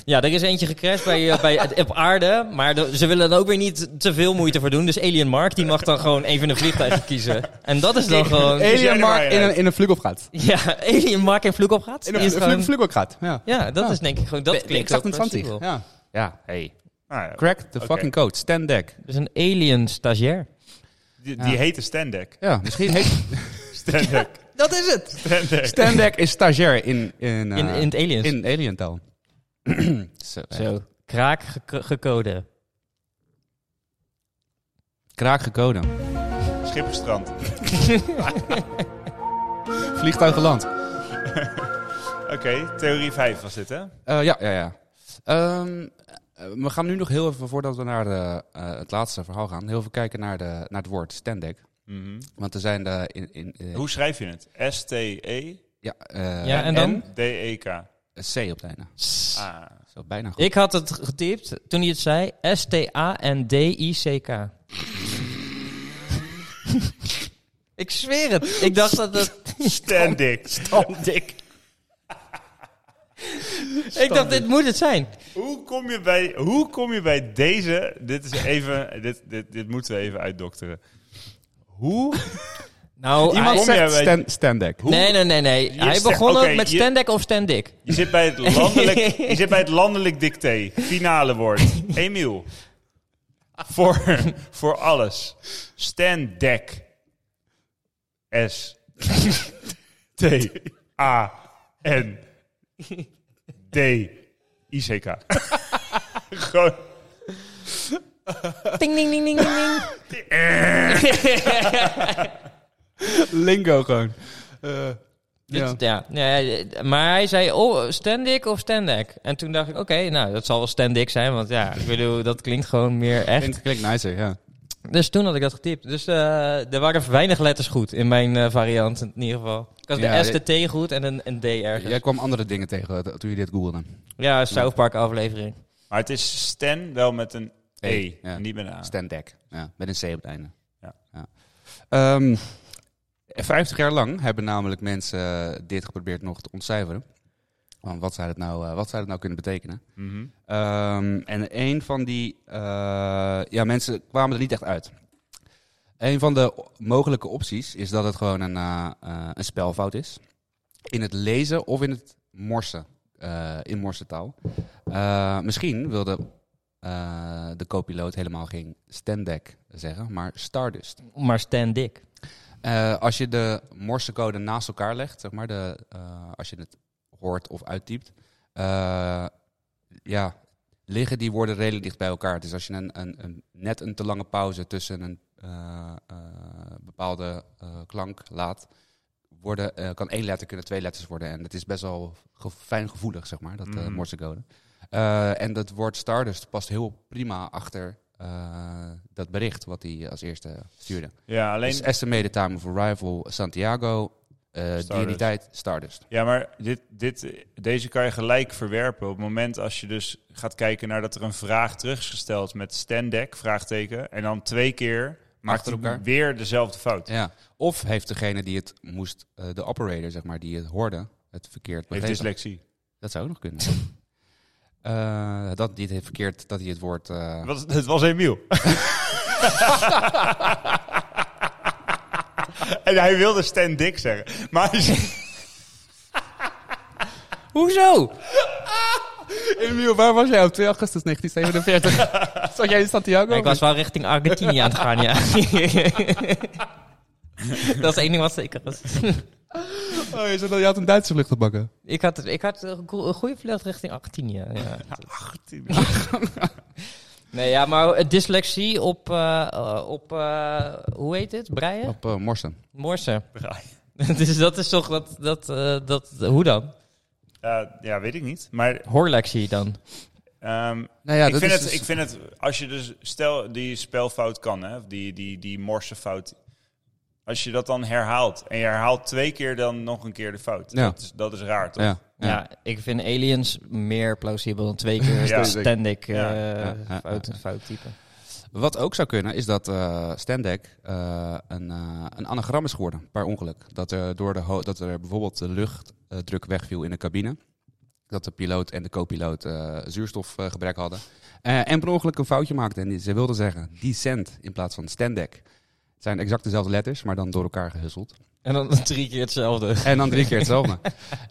[SPEAKER 3] ja, er is eentje gecrashed bij, eh, bij, het- op aarde, maar de- ze willen er ook weer niet te veel moeite voor doen. Dus alien Mark, die mag dan gewoon even een vliegtuig kiezen. En dat is dan gewoon,
[SPEAKER 2] jij er
[SPEAKER 4] Alien
[SPEAKER 2] maar
[SPEAKER 4] Mark
[SPEAKER 2] in
[SPEAKER 4] in een,
[SPEAKER 2] uit.
[SPEAKER 4] in een vliegopgaat.
[SPEAKER 3] ja, alien Mark in vloek op gaat.
[SPEAKER 4] In
[SPEAKER 3] Die is
[SPEAKER 4] een
[SPEAKER 3] gewoon-
[SPEAKER 4] vlieg- vliegopgaat, ja.
[SPEAKER 3] ja, dat
[SPEAKER 4] Ja.
[SPEAKER 3] is denk ik gewoon, dat klinkt ook
[SPEAKER 4] Exact
[SPEAKER 3] plausibel.
[SPEAKER 4] Ja. Ja, hey.
[SPEAKER 2] Ah, ja.
[SPEAKER 4] Crack the
[SPEAKER 2] Oké.
[SPEAKER 4] fucking code. Stand deck.
[SPEAKER 3] Dus een alien stagiair.
[SPEAKER 2] Die, die
[SPEAKER 4] Ja.
[SPEAKER 2] heette Stendek. (laughs)
[SPEAKER 4] Ja,
[SPEAKER 3] (laughs)
[SPEAKER 4] misschien heet...
[SPEAKER 2] Stendek.
[SPEAKER 3] Dat is het!
[SPEAKER 2] Stendek.
[SPEAKER 4] Stand deck is stagiair in... In, eh,
[SPEAKER 3] In, in het aliens.
[SPEAKER 4] in alien taal. Zo.
[SPEAKER 3] (clears throat)
[SPEAKER 4] echt.
[SPEAKER 3] Zo, kraak gek- gecode.
[SPEAKER 4] Kraak gekoden.
[SPEAKER 2] Schipperstrand.
[SPEAKER 4] Vliegtuig geland.
[SPEAKER 2] Oké, theorie 5 was dit, hè?
[SPEAKER 4] Eh, ja, ja, ja. Ehm, eh, we gaan nu nog heel even, voordat we naar de, eh, het laatste verhaal gaan, heel even kijken naar, de, naar het woord standek.
[SPEAKER 2] Mhm.
[SPEAKER 4] Want er zijn de... In, in, eh,
[SPEAKER 2] Hoe schrijf je het? S-T-E?
[SPEAKER 4] Ja, eh,
[SPEAKER 3] Ja, en dan?
[SPEAKER 2] DEK.
[SPEAKER 4] (laughs) een C op het einde.
[SPEAKER 2] Ah,
[SPEAKER 4] Zo bijna goed.
[SPEAKER 3] Ik had het getypt toen hij het zei. S-T-A-N-D-I-C-K. (laughs) ik zweer het. Ik dacht dat het...
[SPEAKER 2] Standing.
[SPEAKER 3] Standik. ik dacht, dit moet het zijn.
[SPEAKER 2] Hoe kom, je bij, hoe kom je bij deze? Dit is
[SPEAKER 4] (laughs)
[SPEAKER 2] even. Dit, dit, dit moeten we even uitdokteren. Hoe?
[SPEAKER 3] Nou,
[SPEAKER 2] Iemand-
[SPEAKER 3] hij-
[SPEAKER 2] Kom jij bij-
[SPEAKER 4] Stan,
[SPEAKER 3] (laughs)
[SPEAKER 4] Standek.
[SPEAKER 3] Nee, nee, nee, nee.
[SPEAKER 2] Je
[SPEAKER 3] Hij
[SPEAKER 2] sta-
[SPEAKER 3] begon
[SPEAKER 2] oké,
[SPEAKER 3] het met
[SPEAKER 2] je-
[SPEAKER 3] Stendek of Standik.
[SPEAKER 2] Je zit bij het landelijk, je zit bij het landelijk dicté. Finale woord. Emiel. Voor, voor alles. Stan Dek. S. T. A. N. D. I. C. K.
[SPEAKER 4] (laughs)
[SPEAKER 2] Gewoon.
[SPEAKER 3] Ding, ding, ding, ding, ding, ding. (laughs)
[SPEAKER 4] Lingo gewoon. Eh,
[SPEAKER 3] Dus,
[SPEAKER 4] ja.
[SPEAKER 3] ja. Nee, maar hij zei, oh, Standik of Standek? En toen dacht ik, oké, nou, dat zal wel Standik zijn. Want ja, ik bedoel, dat klinkt gewoon meer echt.
[SPEAKER 4] Klinkt, klinkt nicer, ja.
[SPEAKER 3] Dus toen had ik dat getypt. Dus eh, er waren weinig letters goed in mijn eh, variant, in ieder geval. Ik had
[SPEAKER 4] Ja,
[SPEAKER 3] de S, de T goed en een, een D ergens.
[SPEAKER 4] Jij kwam andere dingen tegen eh, toen je dit googelde.
[SPEAKER 3] Ja, South Park aflevering.
[SPEAKER 2] Maar het is Stan wel met een E.
[SPEAKER 4] E, ja.
[SPEAKER 2] Niet met een A.
[SPEAKER 4] Standek. Ja, met een C op het einde.
[SPEAKER 2] Ja.
[SPEAKER 4] Ehm, 50 jaar lang hebben namelijk mensen eh, dit geprobeerd nog te ontcijferen. Want wat zou het nou, eh, wat zou het nou kunnen betekenen?
[SPEAKER 2] Mhm.
[SPEAKER 4] Ehm, en een van die... eh, ja, mensen kwamen er niet echt uit. Een van de o- mogelijke opties is dat het gewoon een, eh, eh, een spelfout is. In het lezen of in het morsen. eh, in morsentaal. Eh, misschien wilde eh, de co-piloot helemaal geen Stendek zeggen, maar Stardust.
[SPEAKER 3] Maar Standik.
[SPEAKER 4] Eh, als je de morsecode naast elkaar legt, zeg maar, de, eh, als je het hoort of uittypt, eh, ja, liggen die woorden redelijk dicht bij elkaar. Dus als je een, een, een- net een te lange pauze tussen een eh, eh, bepaalde eh, klank laat, worden, eh, kan één letter kunnen twee letters worden. En dat is best wel ge- fijngevoelig, zeg maar, dat eh,
[SPEAKER 2] Mhm.
[SPEAKER 4] morsecode. Eh, en dat woord Stardust past heel prima achter eh, dat bericht wat hij als eerste stuurde.
[SPEAKER 2] Ja, alleen.
[SPEAKER 4] Dus estimated time of arrival Santiago. eh die in die tijd Stardust.
[SPEAKER 2] Ja, maar dit, dit, deze kan je gelijk verwerpen. Op het moment als je dus gaat kijken naar dat er een vraag terug is gesteld met standek, vraagteken. En dan twee keer maakt
[SPEAKER 4] Achter
[SPEAKER 2] hij
[SPEAKER 4] elkaar.
[SPEAKER 2] weer dezelfde fout.
[SPEAKER 4] Ja. Of heeft degene die het moest, eh, de operator zeg maar, die het hoorde, het verkeerd
[SPEAKER 2] Heeft dus
[SPEAKER 4] begrepen.
[SPEAKER 2] dyslexie.
[SPEAKER 4] dat zou ook nog kunnen. (laughs) Eh, dat die het heeft verkeerd, dat hij het woord... eh,
[SPEAKER 2] Was, het was Emiel. (laughs) en hij wilde standik zeggen. Maar
[SPEAKER 4] (laughs)
[SPEAKER 3] Hoezo?
[SPEAKER 4] Emiel, waar was jij op 2 (laughs) augustus 1947? Zat jij in Santiago?
[SPEAKER 3] ik was wel richting Argentinië aan het gaan, ja. (laughs) dat is één ding wat zeker is.
[SPEAKER 4] Oh, je, je had een Duitse vlucht gebakken.
[SPEAKER 3] (laughs) ik had, ik had een go- een goede vlucht richting Argentinië. Ja. (laughs) Nee, ja, maar eh, dyslexie op, eh, eh, op eh, hoe heet het? Breien?
[SPEAKER 4] Op eh, Morsen.
[SPEAKER 3] Morsen.
[SPEAKER 2] Braai.
[SPEAKER 3] (laughs) dus dat is toch dat, dat, eh, dat hoe dan?
[SPEAKER 2] Eh, ja, weet ik niet. Maar
[SPEAKER 3] Horlexie dan.
[SPEAKER 2] ehm,
[SPEAKER 4] Nou ja,
[SPEAKER 2] ik,
[SPEAKER 4] dat
[SPEAKER 2] vind
[SPEAKER 4] is
[SPEAKER 2] het,
[SPEAKER 4] dus-
[SPEAKER 2] ik vind het, als je dus, stel die spelfout kan, hè, of die, die, die morsenfout. Als je dat dan herhaalt en je herhaalt twee keer dan nog een keer de fout.
[SPEAKER 4] Ja.
[SPEAKER 2] Dat, is, dat is raar, toch?
[SPEAKER 4] Ja,
[SPEAKER 3] Ja.
[SPEAKER 4] ja.
[SPEAKER 3] ik vind aliens meer plausibel dan twee
[SPEAKER 4] (laughs)
[SPEAKER 3] keer
[SPEAKER 2] Ja.
[SPEAKER 3] ja. standik eh
[SPEAKER 2] Ja.
[SPEAKER 4] Ja, ja,
[SPEAKER 3] fout,
[SPEAKER 4] ja.
[SPEAKER 3] fout type.
[SPEAKER 4] Wat ook zou kunnen is dat eh Stendek eh, een, eh, een anagram is geworden, per ongeluk. Dat er, door de ho- dat er bijvoorbeeld de luchtdruk wegviel in de cabine. Dat de piloot en de co-piloot eh, zuurstofgebrek hadden. Eh, en per ongeluk een foutje maakte. En die- ze wilden zeggen descent in plaats van Stendek. Het zijn exact dezelfde letters, maar dan door elkaar gehusseld.
[SPEAKER 3] En dan (laughs) drie keer hetzelfde.
[SPEAKER 4] En dan drie keer
[SPEAKER 2] (laughs)
[SPEAKER 4] hetzelfde.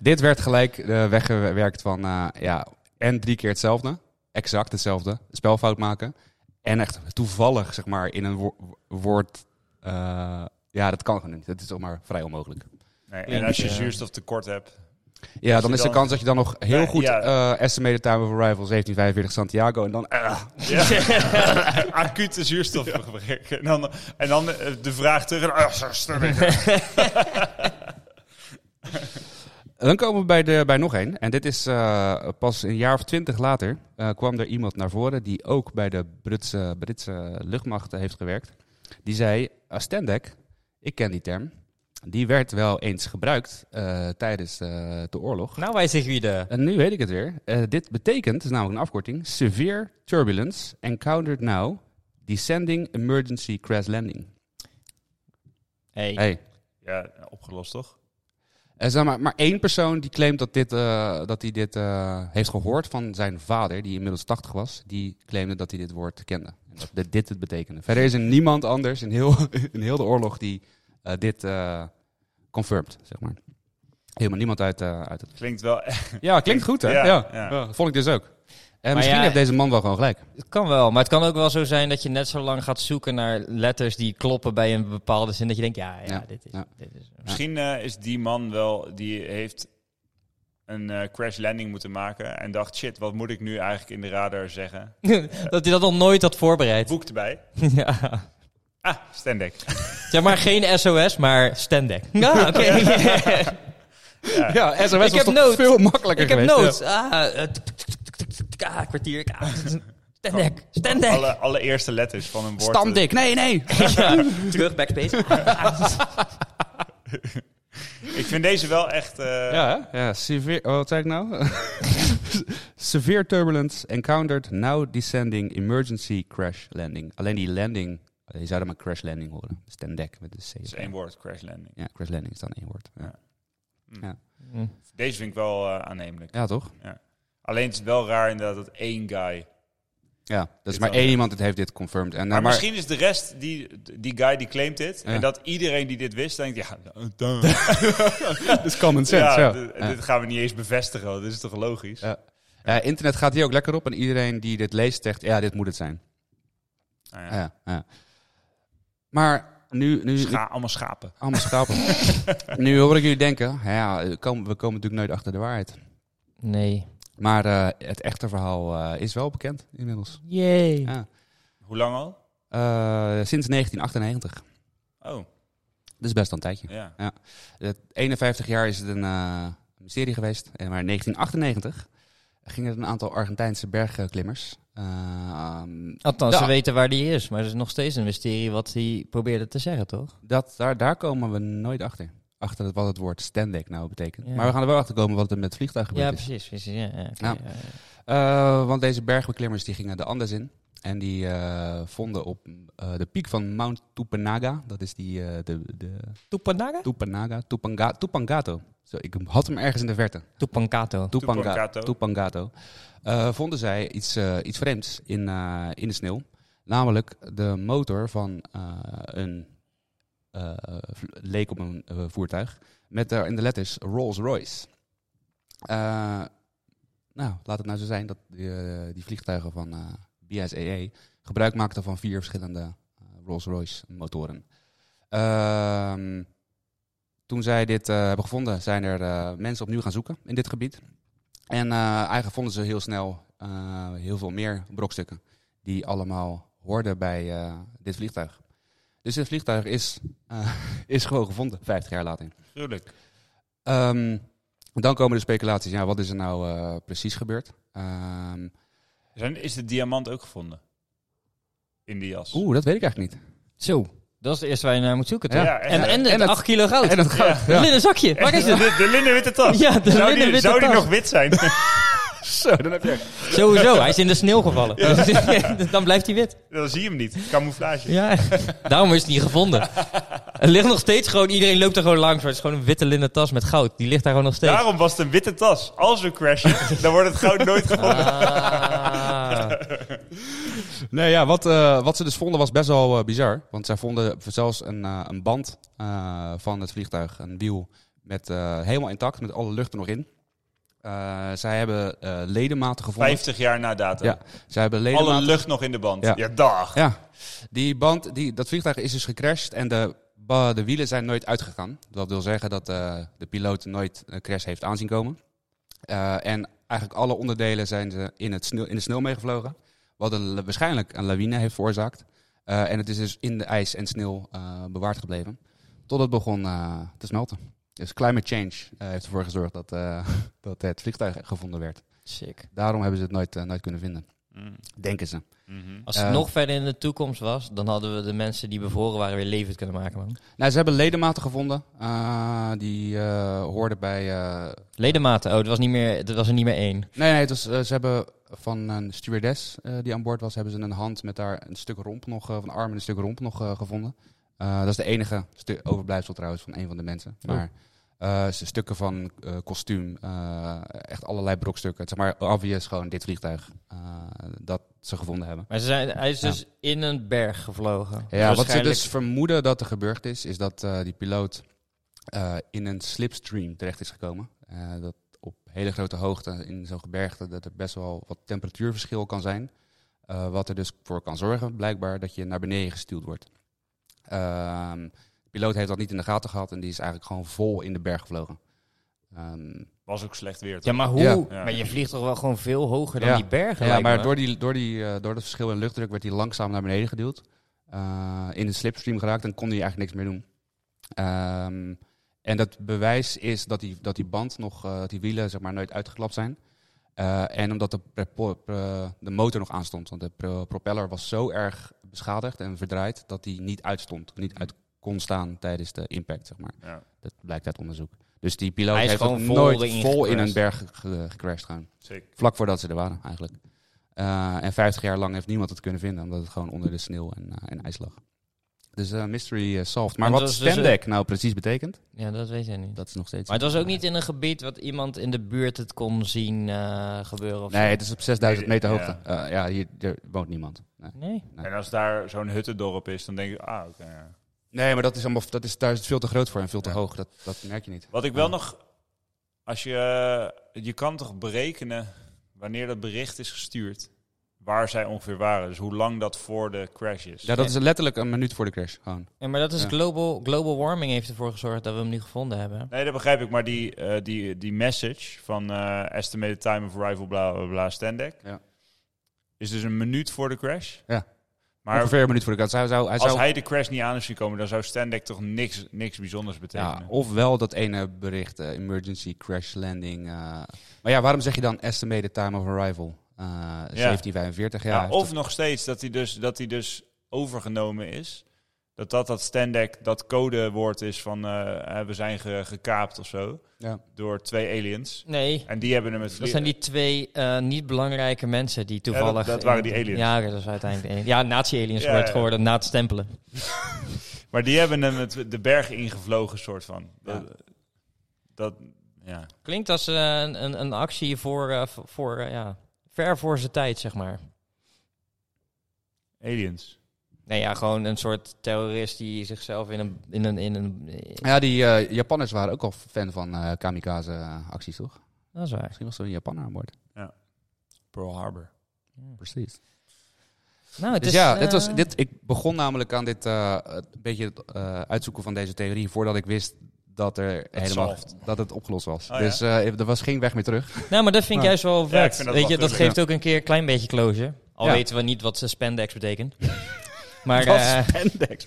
[SPEAKER 4] Dit werd gelijk eh, weggewerkt van, eh, ja, en drie keer hetzelfde. Exact hetzelfde. Spelfout maken. En echt toevallig, zeg maar, in een wo- woord... eh, ja, dat kan gewoon niet. Dat is toch maar vrij onmogelijk.
[SPEAKER 2] Nee, en
[SPEAKER 3] Klinkt,
[SPEAKER 2] als je
[SPEAKER 3] eh,
[SPEAKER 2] zuurstoftekort (laughs) hebt.
[SPEAKER 4] Ja,
[SPEAKER 2] Als
[SPEAKER 4] dan
[SPEAKER 2] je
[SPEAKER 4] is de
[SPEAKER 2] dan-
[SPEAKER 4] kans dat je dan nog heel
[SPEAKER 2] Ja,
[SPEAKER 4] goed...
[SPEAKER 2] ja.
[SPEAKER 4] eh, estimated time of arrival 1745 Santiago. En dan... eh,
[SPEAKER 2] Ja. (laughs) Acute zuurstofgebrek. En dan, en dan eh, de vraag terug. ah, zo stem (laughs) ik.
[SPEAKER 4] Dan komen we bij, de, bij nog één. En dit is eh, pas een jaar of twintig later eh, kwam er iemand naar voren die ook bij de Britse, Britse luchtmacht heeft gewerkt. Die zei, Stendek, ik ken die term. Die werd wel eens gebruikt eh, tijdens eh, de oorlog.
[SPEAKER 3] Nou, wij zeggen wie de...
[SPEAKER 4] En nu weet ik het weer. Eh, dit betekent, het is namelijk een afkorting, Severe Turbulence Encountered Now Descending Emergency Crash Landing.
[SPEAKER 3] Hey.
[SPEAKER 4] Hey.
[SPEAKER 2] Ja, opgelost toch?
[SPEAKER 4] Er is dan Eh, maar, maar één persoon die claimt dat, dit, eh, dat hij dit eh, heeft gehoord van zijn vader, die inmiddels 80 was. Die claimde dat hij dit woord kende. En dat dit- dit het betekende. Verder is er niemand anders in heel, (laughs) in heel de oorlog die eh, dit eh confirmed, zeg maar. Helemaal niemand uit, eh, uit het...
[SPEAKER 2] Klinkt wel echt.
[SPEAKER 4] Ja, klinkt goed hè?
[SPEAKER 2] Ja,
[SPEAKER 4] Ja,
[SPEAKER 2] ja.
[SPEAKER 4] Ja, vond ik dus ook. En
[SPEAKER 3] Maar
[SPEAKER 4] misschien
[SPEAKER 3] ja,
[SPEAKER 4] heeft deze man wel gewoon gelijk.
[SPEAKER 3] Het kan wel, maar het kan ook wel zo zijn dat je net zo lang gaat zoeken naar letters die kloppen bij een bepaalde zin. Dat je denkt, ja, ja,
[SPEAKER 4] Ja,
[SPEAKER 3] dit is...
[SPEAKER 4] ja.
[SPEAKER 3] Dit is (laughs)
[SPEAKER 2] Misschien eh, is die man wel, die heeft een eh, crash landing moeten maken en dacht, shit, wat moet ik nu eigenlijk in de radar zeggen?
[SPEAKER 3] dat hij dat nog nooit had voorbereid.
[SPEAKER 2] Boek erbij.
[SPEAKER 3] (laughs) ja.
[SPEAKER 2] Ah, Stendek.
[SPEAKER 3] Zeg maar geen SOS, maar standback. Ja, oké. (laughs)
[SPEAKER 4] Ja, SOS
[SPEAKER 3] Ik heb
[SPEAKER 4] toch
[SPEAKER 3] nood.
[SPEAKER 4] veel makkelijker
[SPEAKER 3] Ik heb
[SPEAKER 4] geweest.
[SPEAKER 3] nood. Ah, eh, tuk, tuk, tuk, tuk, tuk, tuk, ah, kwartier. ah, Standback. Standback.
[SPEAKER 2] (laughs)
[SPEAKER 3] (laughs)
[SPEAKER 2] Alle, alle eerste letters van een woord. eh,
[SPEAKER 4] Standik, nee, nee.
[SPEAKER 3] Ja, Terug, backspace.
[SPEAKER 2] Ik vind deze wel echt... eh,
[SPEAKER 4] Ja, hè? ja severe, oh, wat zei ik nou? (laughs) severe turbulence encountered, now descending, emergency crash landing. Alleen die landing, eh, je zou dan maar crash landing horen. Dus ten dek met de C.
[SPEAKER 2] Het is één woord, crash landing.
[SPEAKER 4] Ja, crash landing is dan één woord. Ja,
[SPEAKER 2] Ja. Deze vind ik wel eh, aannemelijk.
[SPEAKER 4] Ja, toch?
[SPEAKER 2] Alleen het is wel raar inderdaad dat één guy...
[SPEAKER 4] Ja, dat
[SPEAKER 2] Dit
[SPEAKER 4] is maar
[SPEAKER 2] wel,
[SPEAKER 4] één
[SPEAKER 2] ja.
[SPEAKER 4] iemand dat heeft dit confirmed. En, nou,
[SPEAKER 2] Maar,
[SPEAKER 4] maar,
[SPEAKER 2] misschien is de rest, die, die guy die claimt dit,
[SPEAKER 4] Ja.
[SPEAKER 2] en dat iedereen die dit wist, denkt, ja, (laughs) duh.
[SPEAKER 4] dat is common
[SPEAKER 2] ja,
[SPEAKER 4] sense. Ja,
[SPEAKER 2] d-
[SPEAKER 4] Ja.
[SPEAKER 2] dit gaan we niet eens bevestigen, want dit is toch logisch?
[SPEAKER 4] Ja. Ja, internet gaat hier ook lekker op en iedereen die dit leest zegt, ja, dit moet het zijn.
[SPEAKER 2] Nou ja. Dus
[SPEAKER 4] Ja. Ja, Maar nu... nu
[SPEAKER 2] Scha- allemaal schapen.
[SPEAKER 4] Allemaal schapen. nu hoor ik jullie denken, ja, we komen, we komen natuurlijk nooit achter de waarheid.
[SPEAKER 3] Nee.
[SPEAKER 4] Maar eh, het echte verhaal eh, is wel bekend inmiddels.
[SPEAKER 3] Yay.
[SPEAKER 4] Ja.
[SPEAKER 2] Hoe lang al?
[SPEAKER 4] Eh, sinds 1998.
[SPEAKER 2] Oh,
[SPEAKER 4] Dat is best al een tijdje.
[SPEAKER 2] ja.
[SPEAKER 4] Het 51 jaar is het een eh, mysterie geweest. En maar in 1998 gingen er een aantal Argentijnse bergklimmers. eh,
[SPEAKER 3] Althans, ze
[SPEAKER 4] Ja.
[SPEAKER 3] weten waar die is, maar het is nog steeds een mysterie wat hij probeerde te zeggen, toch?
[SPEAKER 4] dat, daar, daar komen we nooit achter. Achter het- wat het woord standek nou betekent.
[SPEAKER 3] Ja.
[SPEAKER 4] Maar we gaan er wel achter komen wat er met het vliegtuig gebeurd
[SPEAKER 3] Ja,
[SPEAKER 4] is.
[SPEAKER 3] precies. precies ja, ja, oké,
[SPEAKER 4] Ja.
[SPEAKER 3] ja, ja.
[SPEAKER 4] Eh, want deze bergbeklimmers die gingen de Andes in. En die eh, vonden op eh, de piek van Mount Tupanaga. Dat is die, eh, de, de
[SPEAKER 3] Tupanaga?
[SPEAKER 4] Tupanaga, Tupanga, Tupangato. Zo, ik had hem ergens in de verte.
[SPEAKER 3] Tupancato.
[SPEAKER 4] Tupanga-
[SPEAKER 2] Tupangato.
[SPEAKER 4] Tupangato. Eh, vonden zij iets, eh, iets vreemds in, eh, in de sneeuw. Namelijk de motor van eh, een... eh, vl- leek op een eh, voertuig. Met daar in de letters Rolls Royce. Eh, nou, laat het nou zo zijn dat die, eh, die vliegtuigen van eh BSAA gebruik maakten van vier verschillende eh, Rolls Royce motoren. Ehm, toen zij dit eh, hebben gevonden, zijn er eh, mensen opnieuw gaan zoeken in dit gebied. En eh, eigenlijk vonden ze heel snel eh, heel veel meer brokstukken. Die allemaal hoorden bij eh, dit vliegtuig. Dus dit vliegtuig is, eh, (laughs) is gewoon gevonden, 50 jaar later.
[SPEAKER 2] Tuurlijk.
[SPEAKER 4] Ehm, dan komen de speculaties. Ja, wat is er nou eh, precies gebeurd? Ehm,
[SPEAKER 2] Zijn, is de diamant ook gevonden? In die jas.
[SPEAKER 4] Oeh, dat weet ik eigenlijk (laughs) niet.
[SPEAKER 3] Zo, dat is het eerste waar je naar moet zoeken, toch?
[SPEAKER 4] Ja,
[SPEAKER 2] Ja, echt.
[SPEAKER 3] En, en, het
[SPEAKER 4] het-
[SPEAKER 3] 8 kilo goud.
[SPEAKER 4] En dat
[SPEAKER 2] Ja.
[SPEAKER 4] gaat.
[SPEAKER 3] Een linnen zakje, waar is het? (laughs)
[SPEAKER 2] De, de linnenwitte tas.
[SPEAKER 3] Ja, de
[SPEAKER 2] zou die,
[SPEAKER 3] linnenwitte
[SPEAKER 2] zou die
[SPEAKER 3] tas.
[SPEAKER 2] nog wit
[SPEAKER 3] (laughs)
[SPEAKER 2] zijn?
[SPEAKER 4] Zo, dan heb je.
[SPEAKER 3] Sowieso, hij is in de sneeuw gevallen. (laughs) Dan blijft hij wit.
[SPEAKER 2] Dan zie je hem niet. Camouflage.
[SPEAKER 3] Ja, (laughs) daarom is het niet gevonden. Het ligt nog steeds gewoon, iedereen loopt er gewoon langs. Maar het is gewoon een witte linnen tas met goud. Die ligt daar gewoon nog steeds.
[SPEAKER 2] Daarom was het een witte tas. Als we
[SPEAKER 3] (laughs)
[SPEAKER 2] crashen, dan wordt het goud nooit gevonden.
[SPEAKER 3] Ah.
[SPEAKER 4] (laughs) Nee, ja, wat, eh, wat ze dus vonden was best wel eh, bizar. Want zij vonden zelfs een, eh, een band eh, van het vliegtuig, een wiel, met, eh, helemaal intact, met alle lucht er nog in. Eh, zij hebben eh, ledematen gevonden.
[SPEAKER 2] 50 jaar na datum.
[SPEAKER 4] Ja, zij hebben ledematen.
[SPEAKER 2] Alle lucht nog in de band. Ja,
[SPEAKER 4] Ja.
[SPEAKER 2] dag.
[SPEAKER 4] Ja, die band, die, dat vliegtuig is dus gecrashed en de, ba- de wielen zijn nooit uitgegaan. Dat wil zeggen dat eh, de piloot nooit een crash heeft aanzien komen. Eh, en eigenlijk alle onderdelen zijn ze in, het sneeuw, in de sneeuw meegevlogen. Wat een, la- waarschijnlijk een lawine heeft veroorzaakt. Eh, en het is dus in de ijs en sneeuw eh, bewaard gebleven. Tot het begon eh, te smelten. Dus climate change eh, heeft (laughs) ervoor gezorgd dat, eh, dat het vliegtuig gevonden werd.
[SPEAKER 3] Sick.
[SPEAKER 4] Daarom hebben ze het nooit, eh, nooit kunnen vinden.
[SPEAKER 2] Mm.
[SPEAKER 4] denken ze.
[SPEAKER 2] Mhm.
[SPEAKER 3] Als het
[SPEAKER 4] Eh.
[SPEAKER 3] nog verder in de toekomst was, dan hadden we de mensen die bevroren waren weer levend kunnen maken, man.
[SPEAKER 4] Nou, ze hebben ledematen gevonden. eh, die eh, hoorden bij... eh,
[SPEAKER 3] Ledematen, oh, dat was, niet meer, dat was er niet meer één.
[SPEAKER 4] Nee, nee het was, eh, ze hebben van een stewardess eh, die aan boord was... hebben ze een hand met daar een stuk romp nog... eh, van een arm en een stuk romp nog eh, gevonden. Eh, dat is de enige stu- overblijfsel trouwens van een van de mensen.
[SPEAKER 3] Oh.
[SPEAKER 4] Maar eh, ze- stukken van eh, kostuum, eh, echt allerlei brokstukken. Het is zeg maar obvious gewoon dit vliegtuig eh, dat ze gevonden hebben.
[SPEAKER 3] Maar ze zijn, hij is
[SPEAKER 4] Ja.
[SPEAKER 3] dus in een berg gevlogen.
[SPEAKER 4] Ja, wat ze
[SPEAKER 3] Waarschijnlijk-
[SPEAKER 4] dus vermoeden dat er gebeurd is, is dat eh, die piloot eh, in een slipstream terecht is gekomen. Eh, dat op hele grote hoogte in zo'n gebergte dat er best wel wat temperatuurverschil kan zijn. Eh, wat er dus voor kan zorgen, blijkbaar, dat je naar beneden gestuurd wordt. Ehm, de piloot heeft dat niet in de gaten gehad en die is eigenlijk gewoon vol in de berg gevlogen. Ehm,
[SPEAKER 2] Was ook slecht weer.
[SPEAKER 3] Ja,
[SPEAKER 2] toch?
[SPEAKER 3] maar hoe?
[SPEAKER 4] Ja.
[SPEAKER 3] Maar je vliegt toch wel gewoon veel hoger dan
[SPEAKER 4] Ja.
[SPEAKER 3] die bergen?
[SPEAKER 4] ja,
[SPEAKER 3] lijkt
[SPEAKER 4] maar
[SPEAKER 3] me.
[SPEAKER 4] door, die, door, die, eh, door het verschil in luchtdruk werd hij langzaam naar beneden geduwd. Eh, in de slipstream geraakt en kon hij eigenlijk niks meer doen. Ehm, en dat bewijs is dat die, dat die band nog, eh, dat die wielen zeg maar nooit uitgeklapt zijn. Eh, en omdat de, prepo- pre- de motor nog aanstond. Want de pro- propeller was zo erg beschadigd en verdraaid dat die niet uitstond. Niet uit kon staan tijdens de impact, zeg maar.
[SPEAKER 2] Ja.
[SPEAKER 4] Dat blijkt uit onderzoek. Dus die piloot
[SPEAKER 3] Hij is
[SPEAKER 4] heeft ook
[SPEAKER 3] gewoon vol
[SPEAKER 4] nooit
[SPEAKER 3] erin
[SPEAKER 4] vol in een
[SPEAKER 3] gecrashed.
[SPEAKER 4] berg ge- ge- gecrashed gaan.
[SPEAKER 2] Sick.
[SPEAKER 4] Vlak voordat ze er waren, eigenlijk. Eh, en 50 jaar lang heeft niemand het kunnen vinden, omdat het gewoon onder de sneeuw en, eh, en ijs lag. Dus eh, mystery eh, solved. Maar
[SPEAKER 3] En
[SPEAKER 4] wat
[SPEAKER 3] dat is dus
[SPEAKER 4] Stendek nou precies betekent,
[SPEAKER 3] Ja, dat weet jij niet.
[SPEAKER 4] dat is nog steeds.
[SPEAKER 3] Maar het was ook niet in een gebied wat iemand in de buurt het kon zien eh, gebeuren of zo.
[SPEAKER 4] Nee, het is op 6000
[SPEAKER 2] Nee,
[SPEAKER 4] meter
[SPEAKER 2] ja.
[SPEAKER 4] hoogte. Ja, ja hier er woont niemand. Nee.
[SPEAKER 3] Nee.
[SPEAKER 2] En als daar zo'n huttendorp is, dan denk ik, ah, oké. ja.
[SPEAKER 4] nee, maar dat is, allemaal, dat is, daar is het veel te groot voor en veel te
[SPEAKER 2] Ja.
[SPEAKER 4] hoog. Dat, dat merk je niet.
[SPEAKER 2] Wat ik wel
[SPEAKER 4] Ja.
[SPEAKER 2] nog, als je, eh, je kan toch berekenen wanneer dat bericht is gestuurd, waar zij ongeveer waren. Dus hoe lang dat voor de crash
[SPEAKER 3] Dus
[SPEAKER 2] is.
[SPEAKER 4] Ja, dat is letterlijk een minuut voor de crash. Gewoon.
[SPEAKER 3] Ja, maar dat is
[SPEAKER 4] Ja.
[SPEAKER 3] global, global warming heeft ervoor gezorgd dat we hem nu gevonden hebben.
[SPEAKER 2] Nee, dat begrijp ik. Maar die, eh, die, die message van eh, estimated time of arrival, bla bla bla, standek.
[SPEAKER 4] Ja.
[SPEAKER 2] Is dus een minuut voor de crash.
[SPEAKER 4] Ja.
[SPEAKER 2] Maar
[SPEAKER 4] Ongeveer een minuut voor de crash. Hij zou, hij
[SPEAKER 2] als
[SPEAKER 4] zou,
[SPEAKER 2] hij de crash niet aan is gekomen, dan zou standek toch niks, niks bijzonders
[SPEAKER 4] ja,
[SPEAKER 2] betekenen.
[SPEAKER 4] ofwel dat ene bericht, eh, emergency crash landing. eh. Maar ja, waarom zeg je dan estimated time of arrival? Eh, 1745, ja.
[SPEAKER 2] Ja,
[SPEAKER 4] hij heeft
[SPEAKER 2] of nog steeds dat hij dus, dat hij dus overgenomen is. Dat dat, dat standek, dat codewoord is van eh, eh, we zijn ge- gekaapt of zo.
[SPEAKER 4] Ja.
[SPEAKER 2] Door twee aliens.
[SPEAKER 3] Nee,
[SPEAKER 2] En die hebben hem het
[SPEAKER 3] dat zijn die twee eh, niet belangrijke mensen die
[SPEAKER 2] dat-
[SPEAKER 3] toevallig...
[SPEAKER 2] dat waren die aliens.
[SPEAKER 3] Ja, dat was uiteindelijk alien. Ja, nazi-aliens
[SPEAKER 2] Ja,
[SPEAKER 3] wordt
[SPEAKER 2] ja.
[SPEAKER 3] geworden na het stempelen.
[SPEAKER 2] Maar die hebben hem het, de berg ingevlogen, soort van. Dat, dat ja.
[SPEAKER 3] Klinkt als eh, een, een, een actie voor, eh, v- voor eh, ja, ver voor zijn tijd, zeg maar.
[SPEAKER 2] Aliens.
[SPEAKER 3] Nee, ja, gewoon een soort terrorist die zichzelf in een... In een, in een
[SPEAKER 4] Ja, die eh, Japanners waren ook al fan van eh, kamikaze-acties, toch?
[SPEAKER 3] Dat is waar.
[SPEAKER 4] Misschien was er een Japanner aan boord.
[SPEAKER 2] Pearl Harbor.
[SPEAKER 4] Precies.
[SPEAKER 3] Nou, het
[SPEAKER 4] Dus
[SPEAKER 3] is,
[SPEAKER 4] ja, dit
[SPEAKER 3] eh,
[SPEAKER 4] was, dit, ik begon namelijk aan dit eh, een beetje het eh, uitzoeken van deze theorie voordat ik wist dat, er helemaal,
[SPEAKER 2] solved.
[SPEAKER 4] dat het opgelost was.
[SPEAKER 2] Oh, ja.
[SPEAKER 4] dus eh, er was geen weg meer
[SPEAKER 2] (laughs)
[SPEAKER 4] terug.
[SPEAKER 3] Nou, maar dat vind ik
[SPEAKER 4] Ja.
[SPEAKER 3] juist wel
[SPEAKER 2] Ja, ik
[SPEAKER 3] vet.
[SPEAKER 2] vind dat
[SPEAKER 3] Weet
[SPEAKER 2] wel
[SPEAKER 3] je, dat
[SPEAKER 2] tuurlijk,
[SPEAKER 3] geeft ook een keer een klein beetje closure. Al
[SPEAKER 4] Ja.
[SPEAKER 3] weten we niet wat eh, spandex
[SPEAKER 4] (laughs)
[SPEAKER 3] betekent. maar,
[SPEAKER 4] Dat
[SPEAKER 3] eh,
[SPEAKER 4] spandex.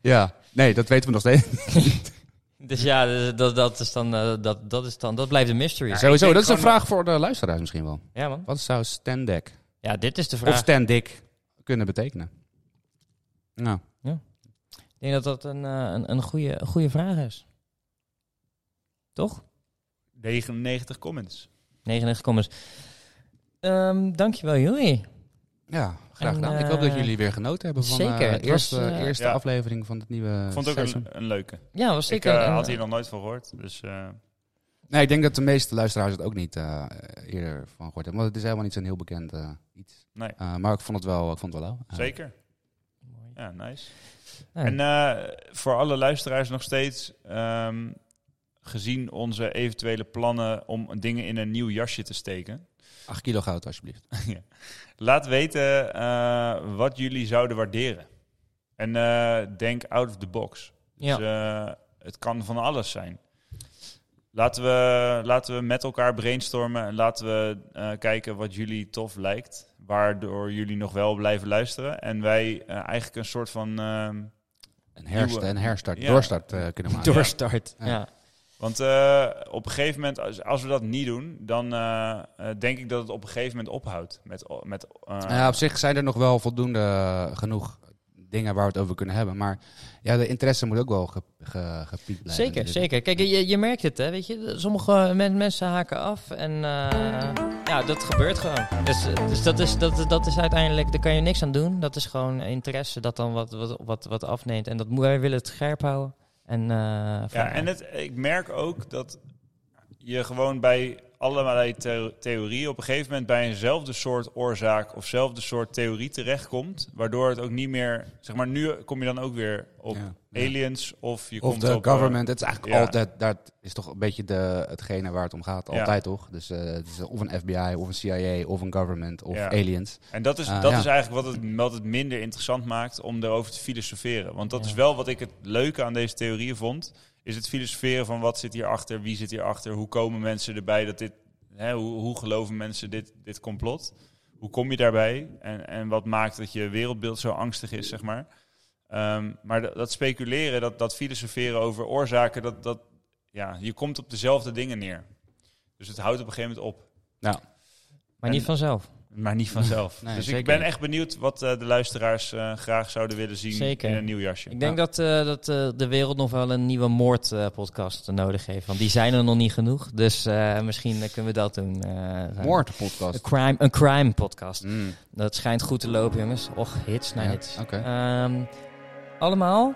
[SPEAKER 4] ja, nee, dat weten we nog
[SPEAKER 2] Nou,
[SPEAKER 4] steeds.
[SPEAKER 3] dus ja, eh, dat, dat, is dan, eh, dat, dat is dan... Dat blijft een mystery. Ja,
[SPEAKER 4] Sowieso,
[SPEAKER 2] denk
[SPEAKER 4] dat is een
[SPEAKER 2] gewoon-
[SPEAKER 4] vraag voor de luisteraars misschien wel.
[SPEAKER 3] man.
[SPEAKER 4] Wat zou standek
[SPEAKER 3] Ja, dit is de
[SPEAKER 4] of
[SPEAKER 3] vraag.
[SPEAKER 4] standik kunnen betekenen? Nou,
[SPEAKER 3] ik denk dat dat een, eh, een, een, goede, een goede vraag is. Toch?
[SPEAKER 2] 99 comments.
[SPEAKER 3] 99 comments. Ehm dankjewel, Joey.
[SPEAKER 4] ja, graag
[SPEAKER 3] En,
[SPEAKER 4] gedaan. ik hoop dat
[SPEAKER 3] eh,
[SPEAKER 4] jullie weer genoten hebben van
[SPEAKER 3] zeker,
[SPEAKER 4] de
[SPEAKER 3] het was,
[SPEAKER 4] eerste,
[SPEAKER 3] eh,
[SPEAKER 4] eerste
[SPEAKER 2] Ja.
[SPEAKER 4] aflevering van het nieuwe
[SPEAKER 2] Ik vond het ook
[SPEAKER 4] seizoen.
[SPEAKER 2] een, een leuke.
[SPEAKER 3] Ja, was
[SPEAKER 2] Ik
[SPEAKER 3] zeker.
[SPEAKER 2] eh,
[SPEAKER 3] een-
[SPEAKER 2] had hier nog nooit van gehoord. Dus eh,
[SPEAKER 4] Nee, ik denk dat de meeste luisteraars het ook niet eh, eerder van gehoord hebben. Want het is helemaal niet zo'n heel bekend eh, iets.
[SPEAKER 2] Nee.
[SPEAKER 4] Eh, maar ik vond het wel, ik vond het wel lauw. Eh,
[SPEAKER 2] zeker. Ja, nice.
[SPEAKER 3] Ja.
[SPEAKER 2] En eh, voor alle luisteraars nog steeds, ehm, gezien onze eventuele plannen om dingen in een nieuw jasje te steken,
[SPEAKER 4] Eh, Acht kilo goud, alsjeblieft.
[SPEAKER 2] laat weten eh, wat jullie zouden waarderen. En eh, denk out of the box. Dus,
[SPEAKER 3] ja.
[SPEAKER 2] eh, het kan van alles zijn. Laten we, laten we met elkaar brainstormen en laten we eh, kijken wat jullie tof lijkt. Waardoor jullie nog wel blijven luisteren. En wij eh, eigenlijk een soort van... ehm,
[SPEAKER 4] Een herst,
[SPEAKER 2] Nieuwe-
[SPEAKER 4] een herstart,
[SPEAKER 2] Ja. (laughs)
[SPEAKER 4] doorstart eh, kunnen maken.
[SPEAKER 2] Door-
[SPEAKER 3] Doorstart.
[SPEAKER 4] Ja.
[SPEAKER 3] ja.
[SPEAKER 2] Want eh, op een gegeven moment, als, als we dat niet doen, dan eh, eh, denk ik dat het op een gegeven moment ophoudt. Met, o- met, eh,
[SPEAKER 4] Nou ja, op zich zijn er nog wel voldoende eh, genoeg dingen waar we het over kunnen hebben. Maar ja, de interesse moet ook wel ge, ge- gepiekt blijven.
[SPEAKER 3] Zeker,
[SPEAKER 4] natuurlijk.
[SPEAKER 3] zeker. Kijk, je, je merkt het, hè. Weet je, sommige men- mensen haken af en eh, ja, dat gebeurt gewoon. Dus, dus dat, is, dat, dat is uiteindelijk, daar kan je niks aan doen. Dat is gewoon interesse dat dan wat, wat, wat, wat afneemt. En dat, moet- wij willen het scherp houden. En, eh,
[SPEAKER 2] Ja,
[SPEAKER 3] vragen.
[SPEAKER 2] en het, ik merk ook dat je gewoon bij allerlei the- theorieën op een gegeven moment bij eenzelfde soort oorzaak of zelfde soort theorie terechtkomt, waardoor het ook niet meer, zeg maar, nu kom je dan ook weer op
[SPEAKER 4] Ja, ja.
[SPEAKER 2] aliens of je
[SPEAKER 4] Of
[SPEAKER 2] komt
[SPEAKER 4] de
[SPEAKER 2] op, eh,
[SPEAKER 4] government, het is eigenlijk
[SPEAKER 2] ja.
[SPEAKER 4] altijd, dat is toch een beetje de, hetgene waar het om gaat,
[SPEAKER 2] Ja.
[SPEAKER 4] altijd toch? Dus eh, het is of een FBI, of een CIA, of een government, of
[SPEAKER 2] Ja.
[SPEAKER 4] aliens.
[SPEAKER 2] en dat is
[SPEAKER 4] Ah,
[SPEAKER 2] dat
[SPEAKER 4] ja.
[SPEAKER 2] is eigenlijk wat het, wat het minder interessant maakt om daarover te filosoferen, want dat
[SPEAKER 3] Ja.
[SPEAKER 2] is wel wat ik het leuke aan deze theorieën vond, is het filosoferen van wat zit hierachter, wie zit hierachter, hoe komen mensen erbij dat dit, hè, hoe, hoe geloven mensen dit, dit complot? hoe kom je daarbij? En, en wat maakt dat je wereldbeeld zo angstig is, zeg maar? Ehm, maar dat, dat speculeren, dat, dat filosoferen over oorzaken, dat, dat, ja, je komt op dezelfde dingen neer. Dus het houdt op een gegeven moment op.
[SPEAKER 3] maar niet vanzelf.
[SPEAKER 2] Maar niet vanzelf.
[SPEAKER 4] Nee,
[SPEAKER 2] dus ik
[SPEAKER 4] zeker
[SPEAKER 2] ben
[SPEAKER 4] niet.
[SPEAKER 2] echt benieuwd wat eh, de luisteraars eh, graag zouden willen zien
[SPEAKER 3] Zeker.
[SPEAKER 2] in een nieuw jasje.
[SPEAKER 3] Ik denk dat, eh, dat eh, de wereld nog wel een nieuwe moordpodcast nodig heeft. Want die zijn er nog niet genoeg. Dus eh, misschien eh, kunnen we dat doen. eh, Een
[SPEAKER 4] Moordpodcast.
[SPEAKER 3] crime, een crime podcast.
[SPEAKER 4] Mm.
[SPEAKER 3] Dat schijnt goed te lopen, jongens. Och, hits na
[SPEAKER 4] Ja,
[SPEAKER 3] hits.
[SPEAKER 4] oké.
[SPEAKER 3] Ehm, allemaal,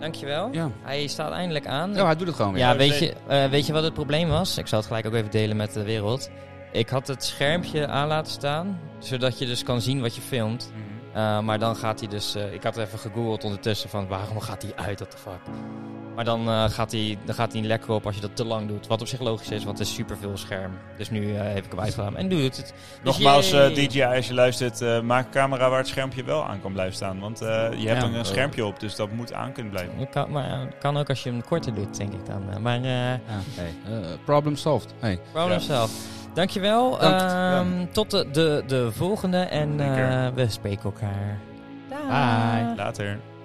[SPEAKER 3] dankjewel.
[SPEAKER 4] Ja.
[SPEAKER 3] Hij staat eindelijk aan.
[SPEAKER 4] ja, hij doet het gewoon weer.
[SPEAKER 3] ja,
[SPEAKER 2] Ja,
[SPEAKER 3] weet
[SPEAKER 2] dus
[SPEAKER 3] je, eh, weet je wat het probleem was? Ik zal het gelijk ook even delen met de wereld. Ik had het schermpje aan laten staan, zodat je dus kan zien wat je filmt.
[SPEAKER 4] Mhm.
[SPEAKER 3] Eh, maar dan gaat hij dus... eh, ik had even gegoogeld ondertussen van waarom gaat hij uit, what the fuck. Maar dan, eh, gaat hij, dan gaat hij niet lekker op als je dat te lang doet. Wat op zich logisch is, want het is superveel scherm. Dus nu eh, heb ik hem uitgedaan en nu doet het. Dus
[SPEAKER 2] Nogmaals, eh,
[SPEAKER 3] yay.
[SPEAKER 2] DJI, als je luistert, eh, maak een camera waar het schermpje wel aan kan blijven staan. Want eh, je hebt
[SPEAKER 4] Ja.
[SPEAKER 2] er een schermpje op, dus dat moet aan kunnen blijven.
[SPEAKER 3] Het Kan, maar eh, het kan ook als je hem korter doet, denk ik dan. Eh, Maar eh
[SPEAKER 4] Ja, hey. eh, problem solved. Hey.
[SPEAKER 2] Ja.
[SPEAKER 3] problem zelf. Dankjewel.
[SPEAKER 4] Dank.
[SPEAKER 3] Ehm, Tot de, de, de volgende. En
[SPEAKER 2] Zeker.
[SPEAKER 3] eh, we spreken elkaar.
[SPEAKER 4] Bye.
[SPEAKER 2] Later.